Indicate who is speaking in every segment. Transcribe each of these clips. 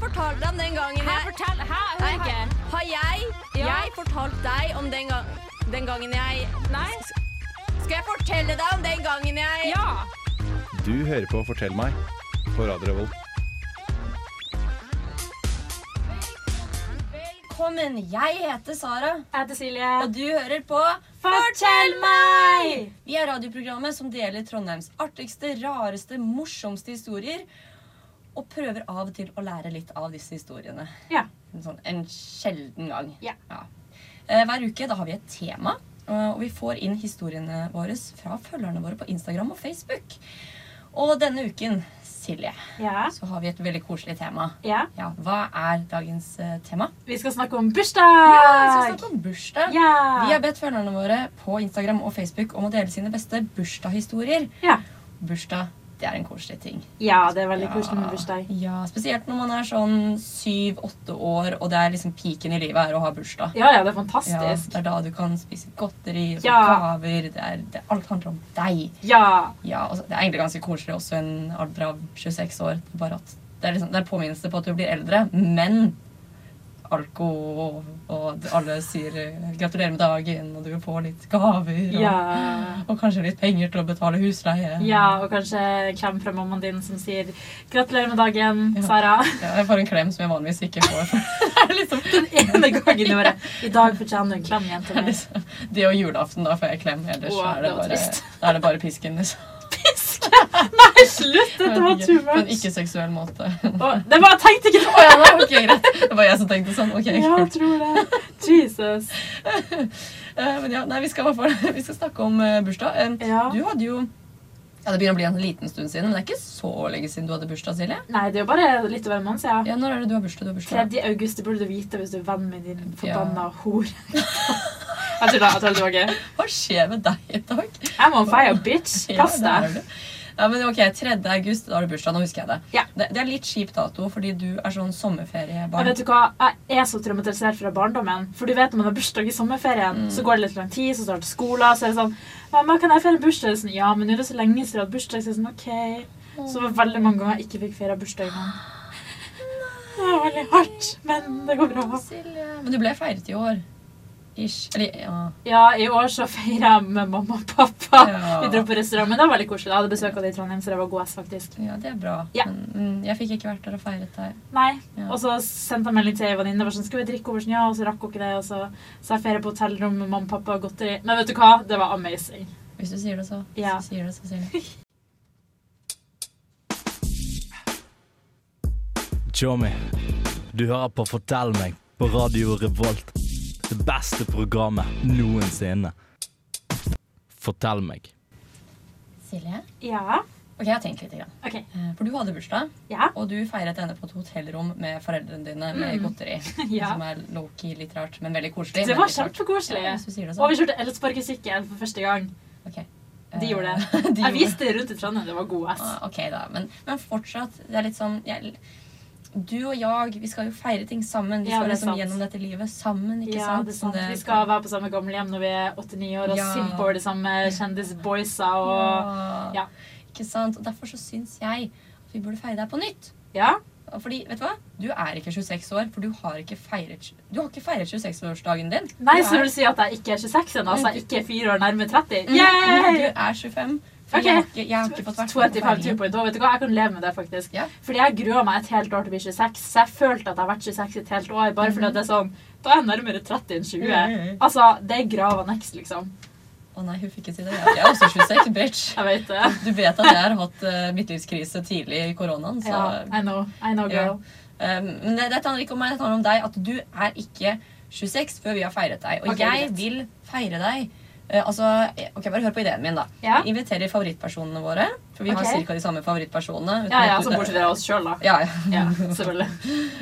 Speaker 1: fortalte deg om den gangen
Speaker 2: Hæ,
Speaker 1: jeg
Speaker 2: fortell! Hæ, jeg hører
Speaker 1: Nei,
Speaker 2: ikke.
Speaker 1: Har jeg,
Speaker 2: Ja.
Speaker 1: jeg fortalt deg om den, gang, den gangen jeg
Speaker 2: Nei?
Speaker 1: Skal jeg fortelle deg om den gangen jeg
Speaker 2: Ja!
Speaker 3: Du hører på Fortell meg på Radio Revolt.
Speaker 1: Velkommen, jeg heter Sara,
Speaker 2: Jeg heter Silje.
Speaker 1: og du hører på
Speaker 2: Fortell meg!
Speaker 1: Vi er radioprogrammet som deler Trondheims artigste, rareste, morsomste historier. Og prøver av og til å lære litt av disse historiene.
Speaker 2: Ja.
Speaker 1: En, sånn, en sjelden gang.
Speaker 2: Ja.
Speaker 1: Eh, Hver uke da har vi et tema, eh, og vi får inn historiene våre fra følgerne våre på Instagram og Facebook. Og denne uken, Silje,
Speaker 2: Ja.
Speaker 1: så har vi et veldig koselig tema.
Speaker 2: ja.
Speaker 1: Ja, Hva er dagens eh, tema?
Speaker 2: Vi skal snakke om bursdag!
Speaker 1: Ja, vi skal snakke om bursdag.
Speaker 2: Ja.
Speaker 1: Vi har bedt følgerne våre på Instagram og Facebook om å dele sine beste bursdagshistorier.
Speaker 2: Ja.
Speaker 1: Bursdag det er en koselig ting.
Speaker 2: ja, det er veldig koselig med bursdag.
Speaker 1: Ja, Spesielt når man er sånn syv-åtte år, og det er liksom piken i livet er å ha bursdag.
Speaker 2: Ja, ja, det er
Speaker 1: Ja,
Speaker 2: fantastisk.
Speaker 1: det er da du kan spise godteri og få
Speaker 2: Ja.
Speaker 1: gaver. Det er, det, alt handler om deg.
Speaker 2: Ja.
Speaker 1: Ja, og så- Det er egentlig ganske koselig også i en alder av 26 år. Bare at det er, liksom, det er påminnelse på at du blir eldre, men alko og, og alle sier eh, 'gratulerer med dagen', og du får litt gaver. Og,
Speaker 2: Ja.
Speaker 1: og kanskje litt penger til å betale husleie.
Speaker 2: ja. Og kanskje klem fra mammaen din som sier 'gratulerer med dagen,
Speaker 1: Ja.
Speaker 2: Sara'.
Speaker 1: Ja, jeg får en klem som jeg vanligvis ikke får. Det er liksom,
Speaker 2: Den ene gangen i året. I dag fortjener du en klem,
Speaker 1: det,
Speaker 2: jenta
Speaker 1: er
Speaker 2: mi.
Speaker 1: liksom, det og julaften, da får jeg klem. Ellers
Speaker 2: Åh,
Speaker 1: er, det
Speaker 2: det var
Speaker 1: bare,
Speaker 2: trist.
Speaker 1: da er det bare pisken. Liksom.
Speaker 2: Nei, slutt! Dette var
Speaker 1: Men
Speaker 2: too
Speaker 1: ikke- På en
Speaker 2: much.
Speaker 1: ikke-seksuell måte.
Speaker 2: Å, Det var, jeg tenkte ikke
Speaker 1: Å ja, nei, ok, greit. Det var jeg som tenkte sånn. ok,
Speaker 2: Ja, jeg
Speaker 1: kult.
Speaker 2: tror det. Jesus.
Speaker 1: Eh, Men ja, nei, vi skal, i hvert fall- vi skal snakke om eh, bursdag. Eh,
Speaker 2: Ja.
Speaker 1: Du hadde jo ja, Det begynner å bli en liten stund siden, men det er ikke så lenge siden du hadde bursdag, Silje.
Speaker 2: Nei, det er jo bare litt over en måned siden.
Speaker 1: Ja, Når er det du har bursdag? Du har bursdag?
Speaker 2: 3. august, det burde du vite hvis du er venn med din forbanna hore. jeg tuller, jeg tuller. Okay.
Speaker 1: Hva skjer med deg i dag?
Speaker 2: I'm on fire, bitch.
Speaker 1: Ja,
Speaker 2: Pass
Speaker 1: det er
Speaker 2: deg.
Speaker 1: det. Ja, men ok, 3. august, da har du bursdag. Nå husker jeg det.
Speaker 2: Ja.
Speaker 1: Det, det er litt kjip dato, fordi du er sånn
Speaker 2: Og
Speaker 1: sommerferiebarn.
Speaker 2: vet du hva? Jeg er så traumatisert fra barndommen. For du vet når man har bursdag i sommerferien,
Speaker 1: Mm.
Speaker 2: så går det litt lang tid, så starter skolen, så er det sånn Mamma, kan jeg feire bursdag? Sånn, ja, men nå er det så lenge siden jeg hadde bursdag. Så jeg er sånn, ok. Så det var veldig mange ganger jeg ikke fikk feire bursdagen min. Det var veldig hardt, men det går bra.
Speaker 1: Men du ble feiret i år. Ish. Eller ja.
Speaker 2: Ja, i år så feirer jeg med mamma og pappa.
Speaker 1: Ja.
Speaker 2: Vi dro på restaurant, men det var veldig koselig. Jeg hadde besøk av det i Trondheim, så det var god ass, faktisk.
Speaker 1: ja, det er bra.
Speaker 2: Ja.
Speaker 1: Men mm, jeg fikk ikke vært der og feiret deg.
Speaker 2: Nei.
Speaker 1: Ja.
Speaker 2: Og så sendte jeg melding til ei venninne var sånn, skal vi drikke over sånn, ja, og så rakk hun ikke det. Og så sa jeg ferie på hotellrom med mamma og pappa og godteri. Men vet du hva? Det var amazing.
Speaker 1: Hvis du sier det, så.
Speaker 2: Ja.
Speaker 1: Hvis du sier det, så sier det.
Speaker 4: Tjommi, du hører på Fortell meg på Radio Revolt. Det beste programmet noensinne. Fortell meg.
Speaker 1: Silje?
Speaker 2: Ja.
Speaker 1: Ok, jeg har tenkt litt. Grann.
Speaker 2: OK.
Speaker 1: Eh, For du hadde bursdag,
Speaker 2: Ja.
Speaker 1: og du feiret henne på et hotellrom med foreldrene dine med godteri.
Speaker 2: Mm. Ja.
Speaker 1: Som er low-key litt rart, men veldig koselig.
Speaker 2: Det
Speaker 1: men
Speaker 2: var
Speaker 1: litt rart.
Speaker 2: kjempekoselig.
Speaker 1: Ja, hvis du sier det
Speaker 2: Og
Speaker 1: sånn.
Speaker 2: vi kjørte elsparkesykkel for første gang.
Speaker 1: Ok.
Speaker 2: De
Speaker 1: Eh,
Speaker 2: gjorde
Speaker 1: de
Speaker 2: det. Jeg
Speaker 1: gjorde det.
Speaker 2: viste det rundt i Trondheim. Det var god ass.
Speaker 1: Ah, Ok, da. Men, men fortsatt, det er litt sånn jeg, Du og jeg, vi skal jo feire ting sammen. Vi
Speaker 2: Ja,
Speaker 1: skal
Speaker 2: det er
Speaker 1: liksom
Speaker 2: sant.
Speaker 1: gjennom dette livet sammen, ikke
Speaker 2: Ja,
Speaker 1: sant?
Speaker 2: det er
Speaker 1: Som
Speaker 2: sant. Vi skal være på samme gamlehjem når vi er 89 år og
Speaker 1: Ja.
Speaker 2: simpe over de samme kjendisboysa og
Speaker 1: ja.
Speaker 2: Ja.
Speaker 1: Ikke sant? Og derfor så syns jeg at vi burde feire deg på nytt.
Speaker 2: Ja.
Speaker 1: Og Fordi, vet du hva? Du er ikke 26 år, for du har ikke feiret, du har ikke feiret 26-årsdagen din.
Speaker 2: Nei,
Speaker 1: du
Speaker 2: så
Speaker 1: er,
Speaker 2: vil du si at jeg ikke er 26 ennå, så jeg ikke er fire år nærme 30?
Speaker 1: Mm, mm, Du
Speaker 2: Yay!
Speaker 1: er 25. For
Speaker 2: Ok.
Speaker 1: jeg, har ikke, jeg har ikke fått vært med på
Speaker 2: 25
Speaker 1: feiringen.
Speaker 2: point. Og vet du hva, jeg kan leve med det, faktisk.
Speaker 1: Ja.
Speaker 2: Fordi jeg grua meg et helt år til å bli 26, så jeg følte at jeg har vært 26 et helt år. Bare fordi
Speaker 1: Mhm.
Speaker 2: at det er sånn Da er jeg nærmere 30 enn 20.
Speaker 1: Mm.
Speaker 2: Altså, det er grava next, liksom.
Speaker 1: Å nei, hun fikk ikke si det. Jeg er også 26, bitch.
Speaker 2: Jeg vet det.
Speaker 1: Du vet at jeg har hatt eh, midtlivskrise tidlig i koronaen, så
Speaker 2: Ja, I know. I know,
Speaker 1: Ja.
Speaker 2: girl.
Speaker 1: Um, men det, dette handler ikke om meg, dette handler om deg. At du er ikke 26 før vi har feiret deg. Og
Speaker 2: Ok,
Speaker 1: jeg
Speaker 2: greit.
Speaker 1: vil feire deg. Eh, altså, eh, ok, Bare hør på ideen min, da.
Speaker 2: Ja.
Speaker 1: Vi inviterer favorittpersonene våre. For vi
Speaker 2: Ok.
Speaker 1: har ca. de samme favorittpersonene. uten
Speaker 2: Ja, ja,
Speaker 1: at du-
Speaker 2: så bortsett fra oss sjøl, da.
Speaker 1: ja, ja.
Speaker 2: Ja, selvfølgelig.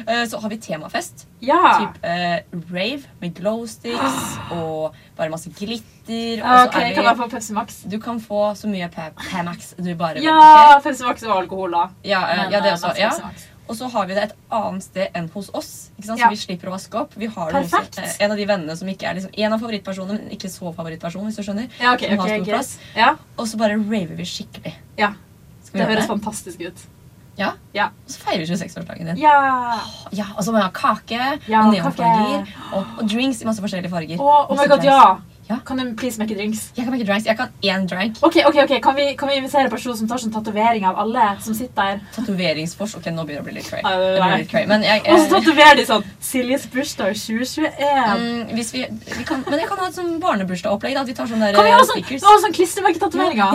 Speaker 1: Eh, Så har vi temafest.
Speaker 2: Ja.
Speaker 1: Typ eh, rave med glow sticks og bare masse glitter. Og
Speaker 2: OK,
Speaker 1: så Altså, er vi,
Speaker 2: kan jeg få Pepsi Max?
Speaker 1: Du kan få så mye P- Pamax du bare vil. ok?
Speaker 2: Ja! Pepsi Max og alkohol, da.
Speaker 1: Ja, eh,
Speaker 2: Men,
Speaker 1: ja, det
Speaker 2: eh,
Speaker 1: også.
Speaker 2: masse
Speaker 1: Ja.
Speaker 2: Pepsi Max.
Speaker 1: Og så har vi det et annet sted enn hos oss. Ikke sant?
Speaker 2: Ja.
Speaker 1: Så vi slipper å vaske opp. Vi har noen som,
Speaker 2: Perfekt.
Speaker 1: eh, en av de vennene som ikke er liksom, en av favorittpersonene, men ikke så favorittperson, hvis du skjønner.
Speaker 2: Ja, OK.
Speaker 1: Som har stor
Speaker 2: ok, greit.
Speaker 1: plass.
Speaker 2: Ja,
Speaker 1: Og så bare raver vi skikkelig.
Speaker 2: Ja.
Speaker 1: Skal vi
Speaker 2: det
Speaker 1: gjøre
Speaker 2: høres
Speaker 1: det?
Speaker 2: fantastisk ut.
Speaker 1: Ja.
Speaker 2: Ja.
Speaker 1: Og så feirer vi 26-årsdagen din.
Speaker 2: Ja!
Speaker 1: Ja, Og så må vi ha kake
Speaker 2: Ja,
Speaker 1: og
Speaker 2: kake.
Speaker 1: neonfarger og, og drinks i masse forskjellige farger.
Speaker 2: Og oh my
Speaker 1: Masse
Speaker 2: god,
Speaker 1: drinks.
Speaker 2: ja!
Speaker 1: Ja.
Speaker 2: Kan du please make drinks?
Speaker 1: Jeg kan ikke drinks. Jeg kan én drink.
Speaker 2: Ok, ok, ok, Kan vi, kan vi invitere en person som tar sånn tatovering av alle som sitter der?
Speaker 1: Tatoveringsfors. Ok, nå begynner det å bli litt cray.
Speaker 2: Nei, nei,
Speaker 1: Det
Speaker 2: nei.
Speaker 1: blir litt cray. Men jeg,
Speaker 2: Og så
Speaker 1: eh,
Speaker 2: tatoverer de sånn Siljes bursdag 2021.
Speaker 1: mm, hvis vi, vi kan, men jeg kan ha et sånn barnebursdagsopplegg. da, At vi tar sånne der,
Speaker 2: Kan vi
Speaker 1: eh,
Speaker 2: ha sånn,
Speaker 1: stickers.
Speaker 2: å, sånn
Speaker 1: Ja,
Speaker 2: klistremerketatoveringer?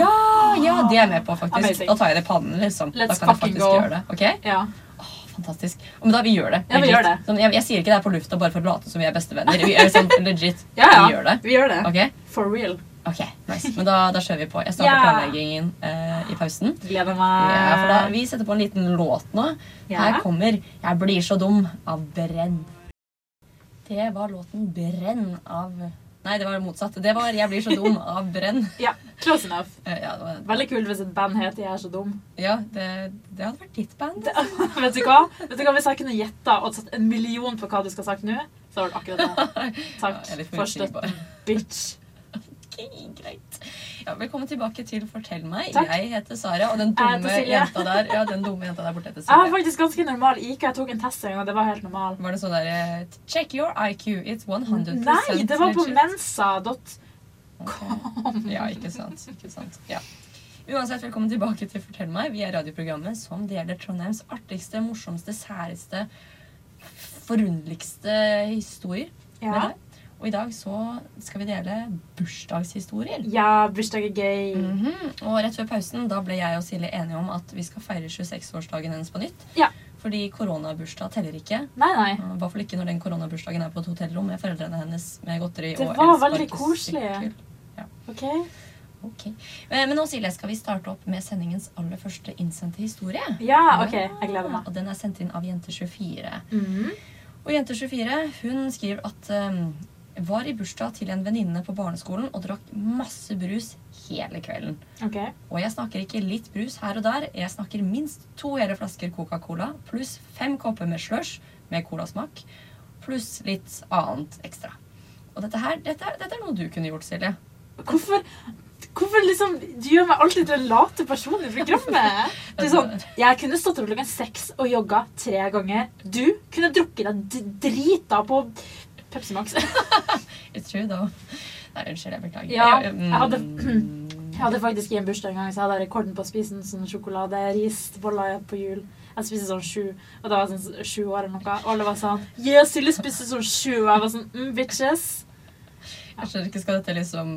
Speaker 1: ja, det er jeg med på, faktisk.
Speaker 2: Amazing.
Speaker 1: Da tar jeg det i pannen, liksom.
Speaker 2: Let's
Speaker 1: da kan jeg
Speaker 2: fucking
Speaker 1: faktisk
Speaker 2: go.
Speaker 1: gjøre det. ok?
Speaker 2: ja.
Speaker 1: Fantastisk. Men da, vi gjør det.
Speaker 2: Ja, vi
Speaker 1: legit.
Speaker 2: gjør det.
Speaker 1: Sånn, jeg, jeg sier ikke det her på lufta bare for å late som vi er bestevenner. Vi er sånn legit.
Speaker 2: Ja, ja.
Speaker 1: Vi gjør det.
Speaker 2: Vi gjør det.
Speaker 1: Ok?
Speaker 2: For real.
Speaker 1: Ok, nice. Men da, da kjører vi på. Jeg starter
Speaker 2: Ja.
Speaker 1: planleggingen eh, i pausen.
Speaker 2: Gleder
Speaker 1: Ja, for da,
Speaker 2: meg.
Speaker 1: vi setter på en liten låt nå.
Speaker 2: Eh. Ja.
Speaker 1: Her kommer 'Jeg blir så dum' av Brenn. Det var låten 'Brenn' av Nei, det var motsatt. Det var 'Jeg blir så dum' av Brenn.
Speaker 2: Ja, Close enough.
Speaker 1: Eh, Ja, det, var,
Speaker 2: Veldig kult hvis et band heter 'Jeg er så dum'.
Speaker 1: ja, det, det hadde vært ditt band. Det.
Speaker 2: Vet du hva? Vet du hva? Hvis jeg kunne gjetta og satt en million på hva du skal ha sagt nå, så var det akkurat det. Takk
Speaker 1: Ja, jeg er litt
Speaker 2: for støtten, bitch.
Speaker 1: Ok, greit. Ja, velkommen tilbake til Fortell meg.
Speaker 2: Takk.
Speaker 1: Jeg heter Sara, og den
Speaker 2: Jeg heter
Speaker 1: dumme
Speaker 2: Silje.
Speaker 1: jenta der Ja, den dumme jenta der borte heter
Speaker 2: Jeg har
Speaker 1: Silje.
Speaker 2: faktisk ganske normal IQ. Jeg tok en test en gang, det var helt normal.
Speaker 1: Var det sånn der eh, Check your IQ, it's 100
Speaker 2: Nei, det var på
Speaker 1: legit».
Speaker 2: mensa.com.
Speaker 1: Ja, ikke sant. ikke sant. Ja. Uansett, velkommen tilbake til Fortell meg. Vi er radioprogrammet som deler Trondheims artigste, morsomste, særeste, forunderligste historier med
Speaker 2: Ja.
Speaker 1: deg. Og i dag så skal vi dele bursdagshistorier.
Speaker 2: ja, bursdag er gøy.
Speaker 1: Mhm. Og rett før pausen da ble jeg og Silje enige om at vi skal feire 26-årsdagen hennes på nytt.
Speaker 2: Ja.
Speaker 1: Fordi koronabursdag teller ikke.
Speaker 2: Nei, nei.
Speaker 1: I hvert fall ikke når den koronabursdagen er på et hotellrom med foreldrene hennes med godteri
Speaker 2: Det
Speaker 1: og
Speaker 2: var
Speaker 1: elsparkesykkel.
Speaker 2: veldig koselig. OK?
Speaker 1: Ok. Eh, Men nå, Silje, skal vi starte opp med sendingens aller første innsendte historie.
Speaker 2: Ja, OK. Jeg gleder meg.
Speaker 1: Og den er sendt inn av Jente24.
Speaker 2: Mhm.
Speaker 1: Og Jente24 hun skriver at um, var i bursdag til en venninne på barneskolen og drakk masse brus hele kvelden.
Speaker 2: OK.
Speaker 1: Og jeg snakker ikke litt brus her og der. Jeg snakker minst to hele flasker Coca-Cola pluss fem kopper med slush med colasmak pluss litt annet ekstra. Og dette her, dette, er- dette er noe du kunne gjort, Silje.
Speaker 2: Hvorfor Hvorfor liksom, Du gjør meg alltid til en late person i programmet. Du er sånn, Jeg kunne stått opp klokken seks og jogga tre ganger. Du kunne drukket deg d- drita på Pepsi Max. Jeg
Speaker 1: It's true, though. Nei, unnskyld, jeg beklager.
Speaker 2: Ja,
Speaker 1: jeg, mm,
Speaker 2: jeg hadde faktisk i en bursdag en gang så hadde jeg rekorden på å spise en sånn sjokolade, ris, boller på jul. Jeg spiste sånn sju, og da var jeg sånn sju år eller noe. Og alle var sånn Yeah, Silje spiste sånn sju. Og jeg var sånn mm, Bitches.
Speaker 1: Jeg skjønner ikke, Skal dette liksom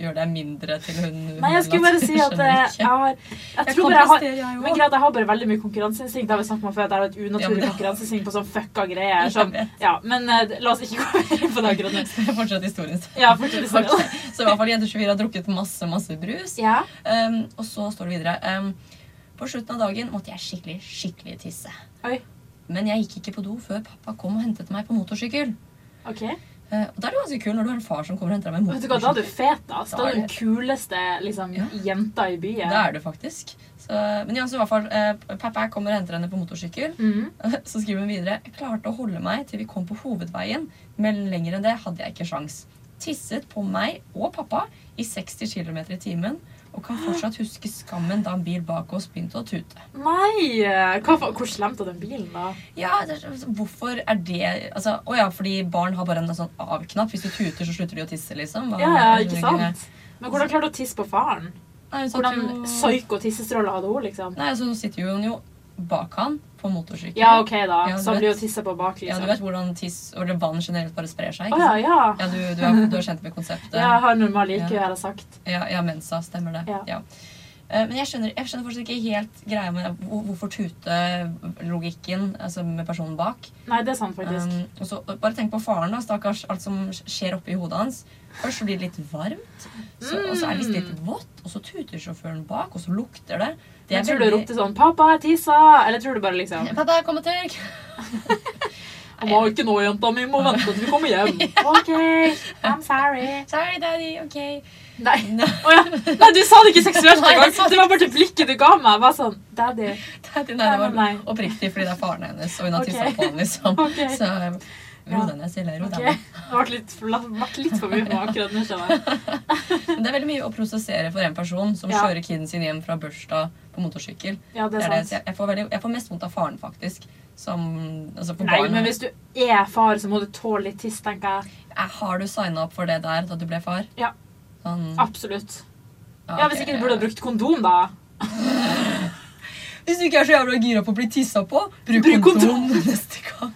Speaker 1: gjøre deg mindre til hun
Speaker 2: Nei, jeg skulle bare si at eh, jeg
Speaker 1: jeg,
Speaker 2: har Jeg
Speaker 1: kan
Speaker 2: tror bare jeg har
Speaker 1: prestere, jeg
Speaker 2: Men
Speaker 1: òg.
Speaker 2: greit, jeg har bare veldig mye konkurranseinstinkt. Det har vi snakket om før, at jeg har et
Speaker 1: Ja, men
Speaker 2: unaturlig
Speaker 1: det-
Speaker 2: konkurranseinstinkt på sånn fucka greier.
Speaker 1: Jeg
Speaker 2: Sånn,
Speaker 1: vet.
Speaker 2: ja, men eh, la oss ikke gå mer inn på det akkurat nå.
Speaker 1: Skal jeg fortsette historien?
Speaker 2: Ja, fortsett i stedet.
Speaker 1: Så i hvert fall Jente24 har drukket masse, masse brus.
Speaker 2: Ja.
Speaker 1: Um, og så står det videre um, På slutten av dagen måtte jeg skikkelig, skikkelig tisse.
Speaker 2: Oi.
Speaker 1: Men jeg gikk ikke på do før pappa kom og hentet meg på motorsykkel.
Speaker 2: Ok.
Speaker 1: Eh, og da er det ganske kul når du har en far som kommer og henter deg med
Speaker 2: Vet du hva, da er
Speaker 1: motorsykkel.
Speaker 2: du fet, ass. Da er du den kuleste liksom,
Speaker 1: Ja.
Speaker 2: jenta i
Speaker 1: Det
Speaker 2: byen.
Speaker 1: er du faktisk. Så, men ja, så i hvert fall, eh, pappa kommer og henter henne på motorsykkel.
Speaker 2: Mhm.
Speaker 1: Så skriver hun videre Jeg klarte å holde meg til vi kom på hovedveien, men lenger enn det hadde jeg ikke sjans. Tisset på meg og pappa i 60 km i timen og kan fortsatt huske skammen da en bil bak oss begynte å tute.
Speaker 2: Nei! eh, Hva, fa- hvor slemt av den bilen, da?
Speaker 1: Ja, det, er- Hvorfor er det altså, Å ja, fordi barn har bare en sånn av-knapp. Hvis du tuter, så slutter de å tisse, liksom. Hva-
Speaker 2: Ja, ja, ikke sant? Men hvordan klarte du å tisse på faren?
Speaker 1: Nei, hun satt
Speaker 2: Hvordan
Speaker 1: jo,
Speaker 2: psyko-tissestråler hadde hun, liksom?
Speaker 1: nei, altså, nå sitter jo hun jo bak han på motorsykkel.
Speaker 2: Ja, OK, da.
Speaker 1: Ja, du
Speaker 2: Så
Speaker 1: vet.
Speaker 2: blir hun tissa på bak,
Speaker 1: Ja,
Speaker 2: liksom.
Speaker 1: du vet hvordan tiss eller vann generelt bare sprer seg? Ikke
Speaker 2: Å ja,
Speaker 1: sant?
Speaker 2: ja.
Speaker 1: Ja, du, du, er, du er kjent med konseptet.
Speaker 2: Ja, Jeg har normal IQ,
Speaker 1: Ja.
Speaker 2: har jeg sagt.
Speaker 1: Ja, ja Mensa, stemmer det.
Speaker 2: Ja.
Speaker 1: Ja. Eh, Men jeg skjønner, jeg skjønner fortsatt ikke helt greia med hvor- hvorfor tute-logikken altså med personen bak.
Speaker 2: Nei, det er sant, faktisk.
Speaker 1: Um, og så Bare tenk på faren, da, stakkars. Alt som skjer oppi hodet hans. Først så blir det litt varmt, så, og så er det visst litt
Speaker 2: Mm.
Speaker 1: vått, og så tuter sjåføren bak, og så lukter det. Det
Speaker 2: Men tror du du ropte sånn 'Pappa, jeg tissa!' Eller tror du bare liksom
Speaker 1: Pappa, kom og tørk!
Speaker 2: 'Mamma, ikke nå, jenta mi. Må vente til vi kommer hjem'. OK. I'm sorry.
Speaker 1: Sorry, daddy. Ok.
Speaker 2: Nei. Å ja. Nei, du sa det ikke seksuelt
Speaker 1: Nei,
Speaker 2: engang.
Speaker 1: jeg sa
Speaker 2: Det var bare det blikket du ga meg. Jeg var sånn 'Daddy'.
Speaker 1: Daddy, nei, det
Speaker 2: Nei, nei,
Speaker 1: var
Speaker 2: nei.
Speaker 1: oppriktig fordi det er faren hennes, og hun har
Speaker 2: Ok.
Speaker 1: tissa på han, liksom.
Speaker 2: Ok.
Speaker 1: Så, Ro deg ned, Silje. Ro
Speaker 2: Ok,
Speaker 1: deg
Speaker 2: Det
Speaker 1: ned.
Speaker 2: ble litt, for- det ble litt for mye for meg akkurat nå. skjønner jeg.
Speaker 1: Men Det er veldig mye å prosessere for en person som
Speaker 2: Ja.
Speaker 1: kjører kiden sin hjem fra bursdag på motorsykkel.
Speaker 2: Ja, det
Speaker 1: Det er
Speaker 2: er
Speaker 1: det, så
Speaker 2: sant.
Speaker 1: jeg, jeg, får veldig, jeg får mest vondt av faren, faktisk. Som altså for
Speaker 2: Nei,
Speaker 1: barn.
Speaker 2: men hvis du er far, så må du tåle litt tiss, tenker jeg.
Speaker 1: Eh, Har du signa opp for det der da du ble far?
Speaker 2: Ja.
Speaker 1: Sånn,
Speaker 2: Absolutt.
Speaker 1: ja,
Speaker 2: Ja,
Speaker 1: ok,
Speaker 2: Hvis ikke du
Speaker 1: ja.
Speaker 2: burde ha brukt kondom, da.
Speaker 1: Hvis du ikke er så jævla gira på å bli tissa på, bruk,
Speaker 2: Bruk
Speaker 1: kondom neste gang.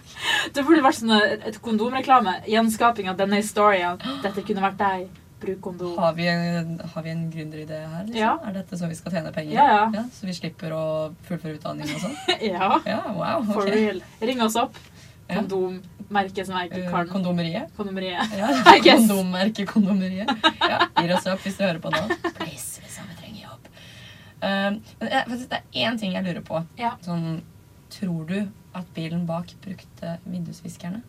Speaker 2: Det burde vært sånn eh, et kondomreklame. Gjenskaping av denne historien. Dette kunne vært deg. Bruk kondom.
Speaker 1: Har vi en, har vi en gründeridé her? Liksom?
Speaker 2: Ja.
Speaker 1: Er dette så vi skal tjene penger?
Speaker 2: Ja, ja.
Speaker 1: så vi slipper å fullføre utdanning og sånn?
Speaker 2: Ja,
Speaker 1: Ja, wow.
Speaker 2: for
Speaker 1: ok.
Speaker 2: real. Ring oss opp.
Speaker 1: Ja.
Speaker 2: Kondommerket som jeg
Speaker 1: Eh,
Speaker 2: ikke kan.
Speaker 1: kondomeriet?
Speaker 2: Kondomeriet.
Speaker 1: Ja,
Speaker 2: I guess.
Speaker 1: kondommerket Kondomeriet. Ja, gir oss opp hvis du hører på nå. Please, liksom, vi trenger jobb. Um, men jeg, faktisk, det er én ting jeg lurer på.
Speaker 2: Ja.
Speaker 1: Sånn, tror du at bilen bak brukte vindusviskerne?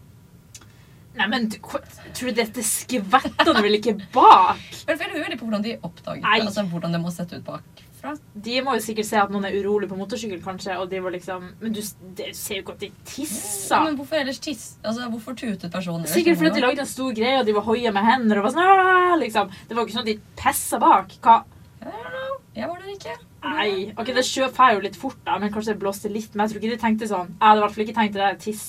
Speaker 2: Nei, men du, hva- tror du dette skvettene vil ikke bak?
Speaker 1: Vel, for Jeg lurer veldig på hvordan de oppdaget
Speaker 2: Nei.
Speaker 1: det. Altså, hvordan det må sette ut bakfra.
Speaker 2: De må jo sikkert se at noen er urolig på motorsykkel, kanskje, og de var liksom Men du s- det ser jo ikke at de
Speaker 1: Ja,
Speaker 2: tisser.
Speaker 1: men hvorfor ellers tiss? Altså, hvorfor tutet personen? ellers?
Speaker 2: Sikkert fordi at de lagde en stor greie, og de var hoia med hender og var sånn «Aah!» liksom. Det var jo ikke sånn at de pissa bak. Hva?
Speaker 1: I don't know. Jeg var der ikke.
Speaker 2: Nei. Ok, det sjø fær jo litt fort, da, men kanskje det blåste litt. Men jeg tror ikke de tenkte sånn. Jeg hadde i hvert fall ikke tenkt det der tiss.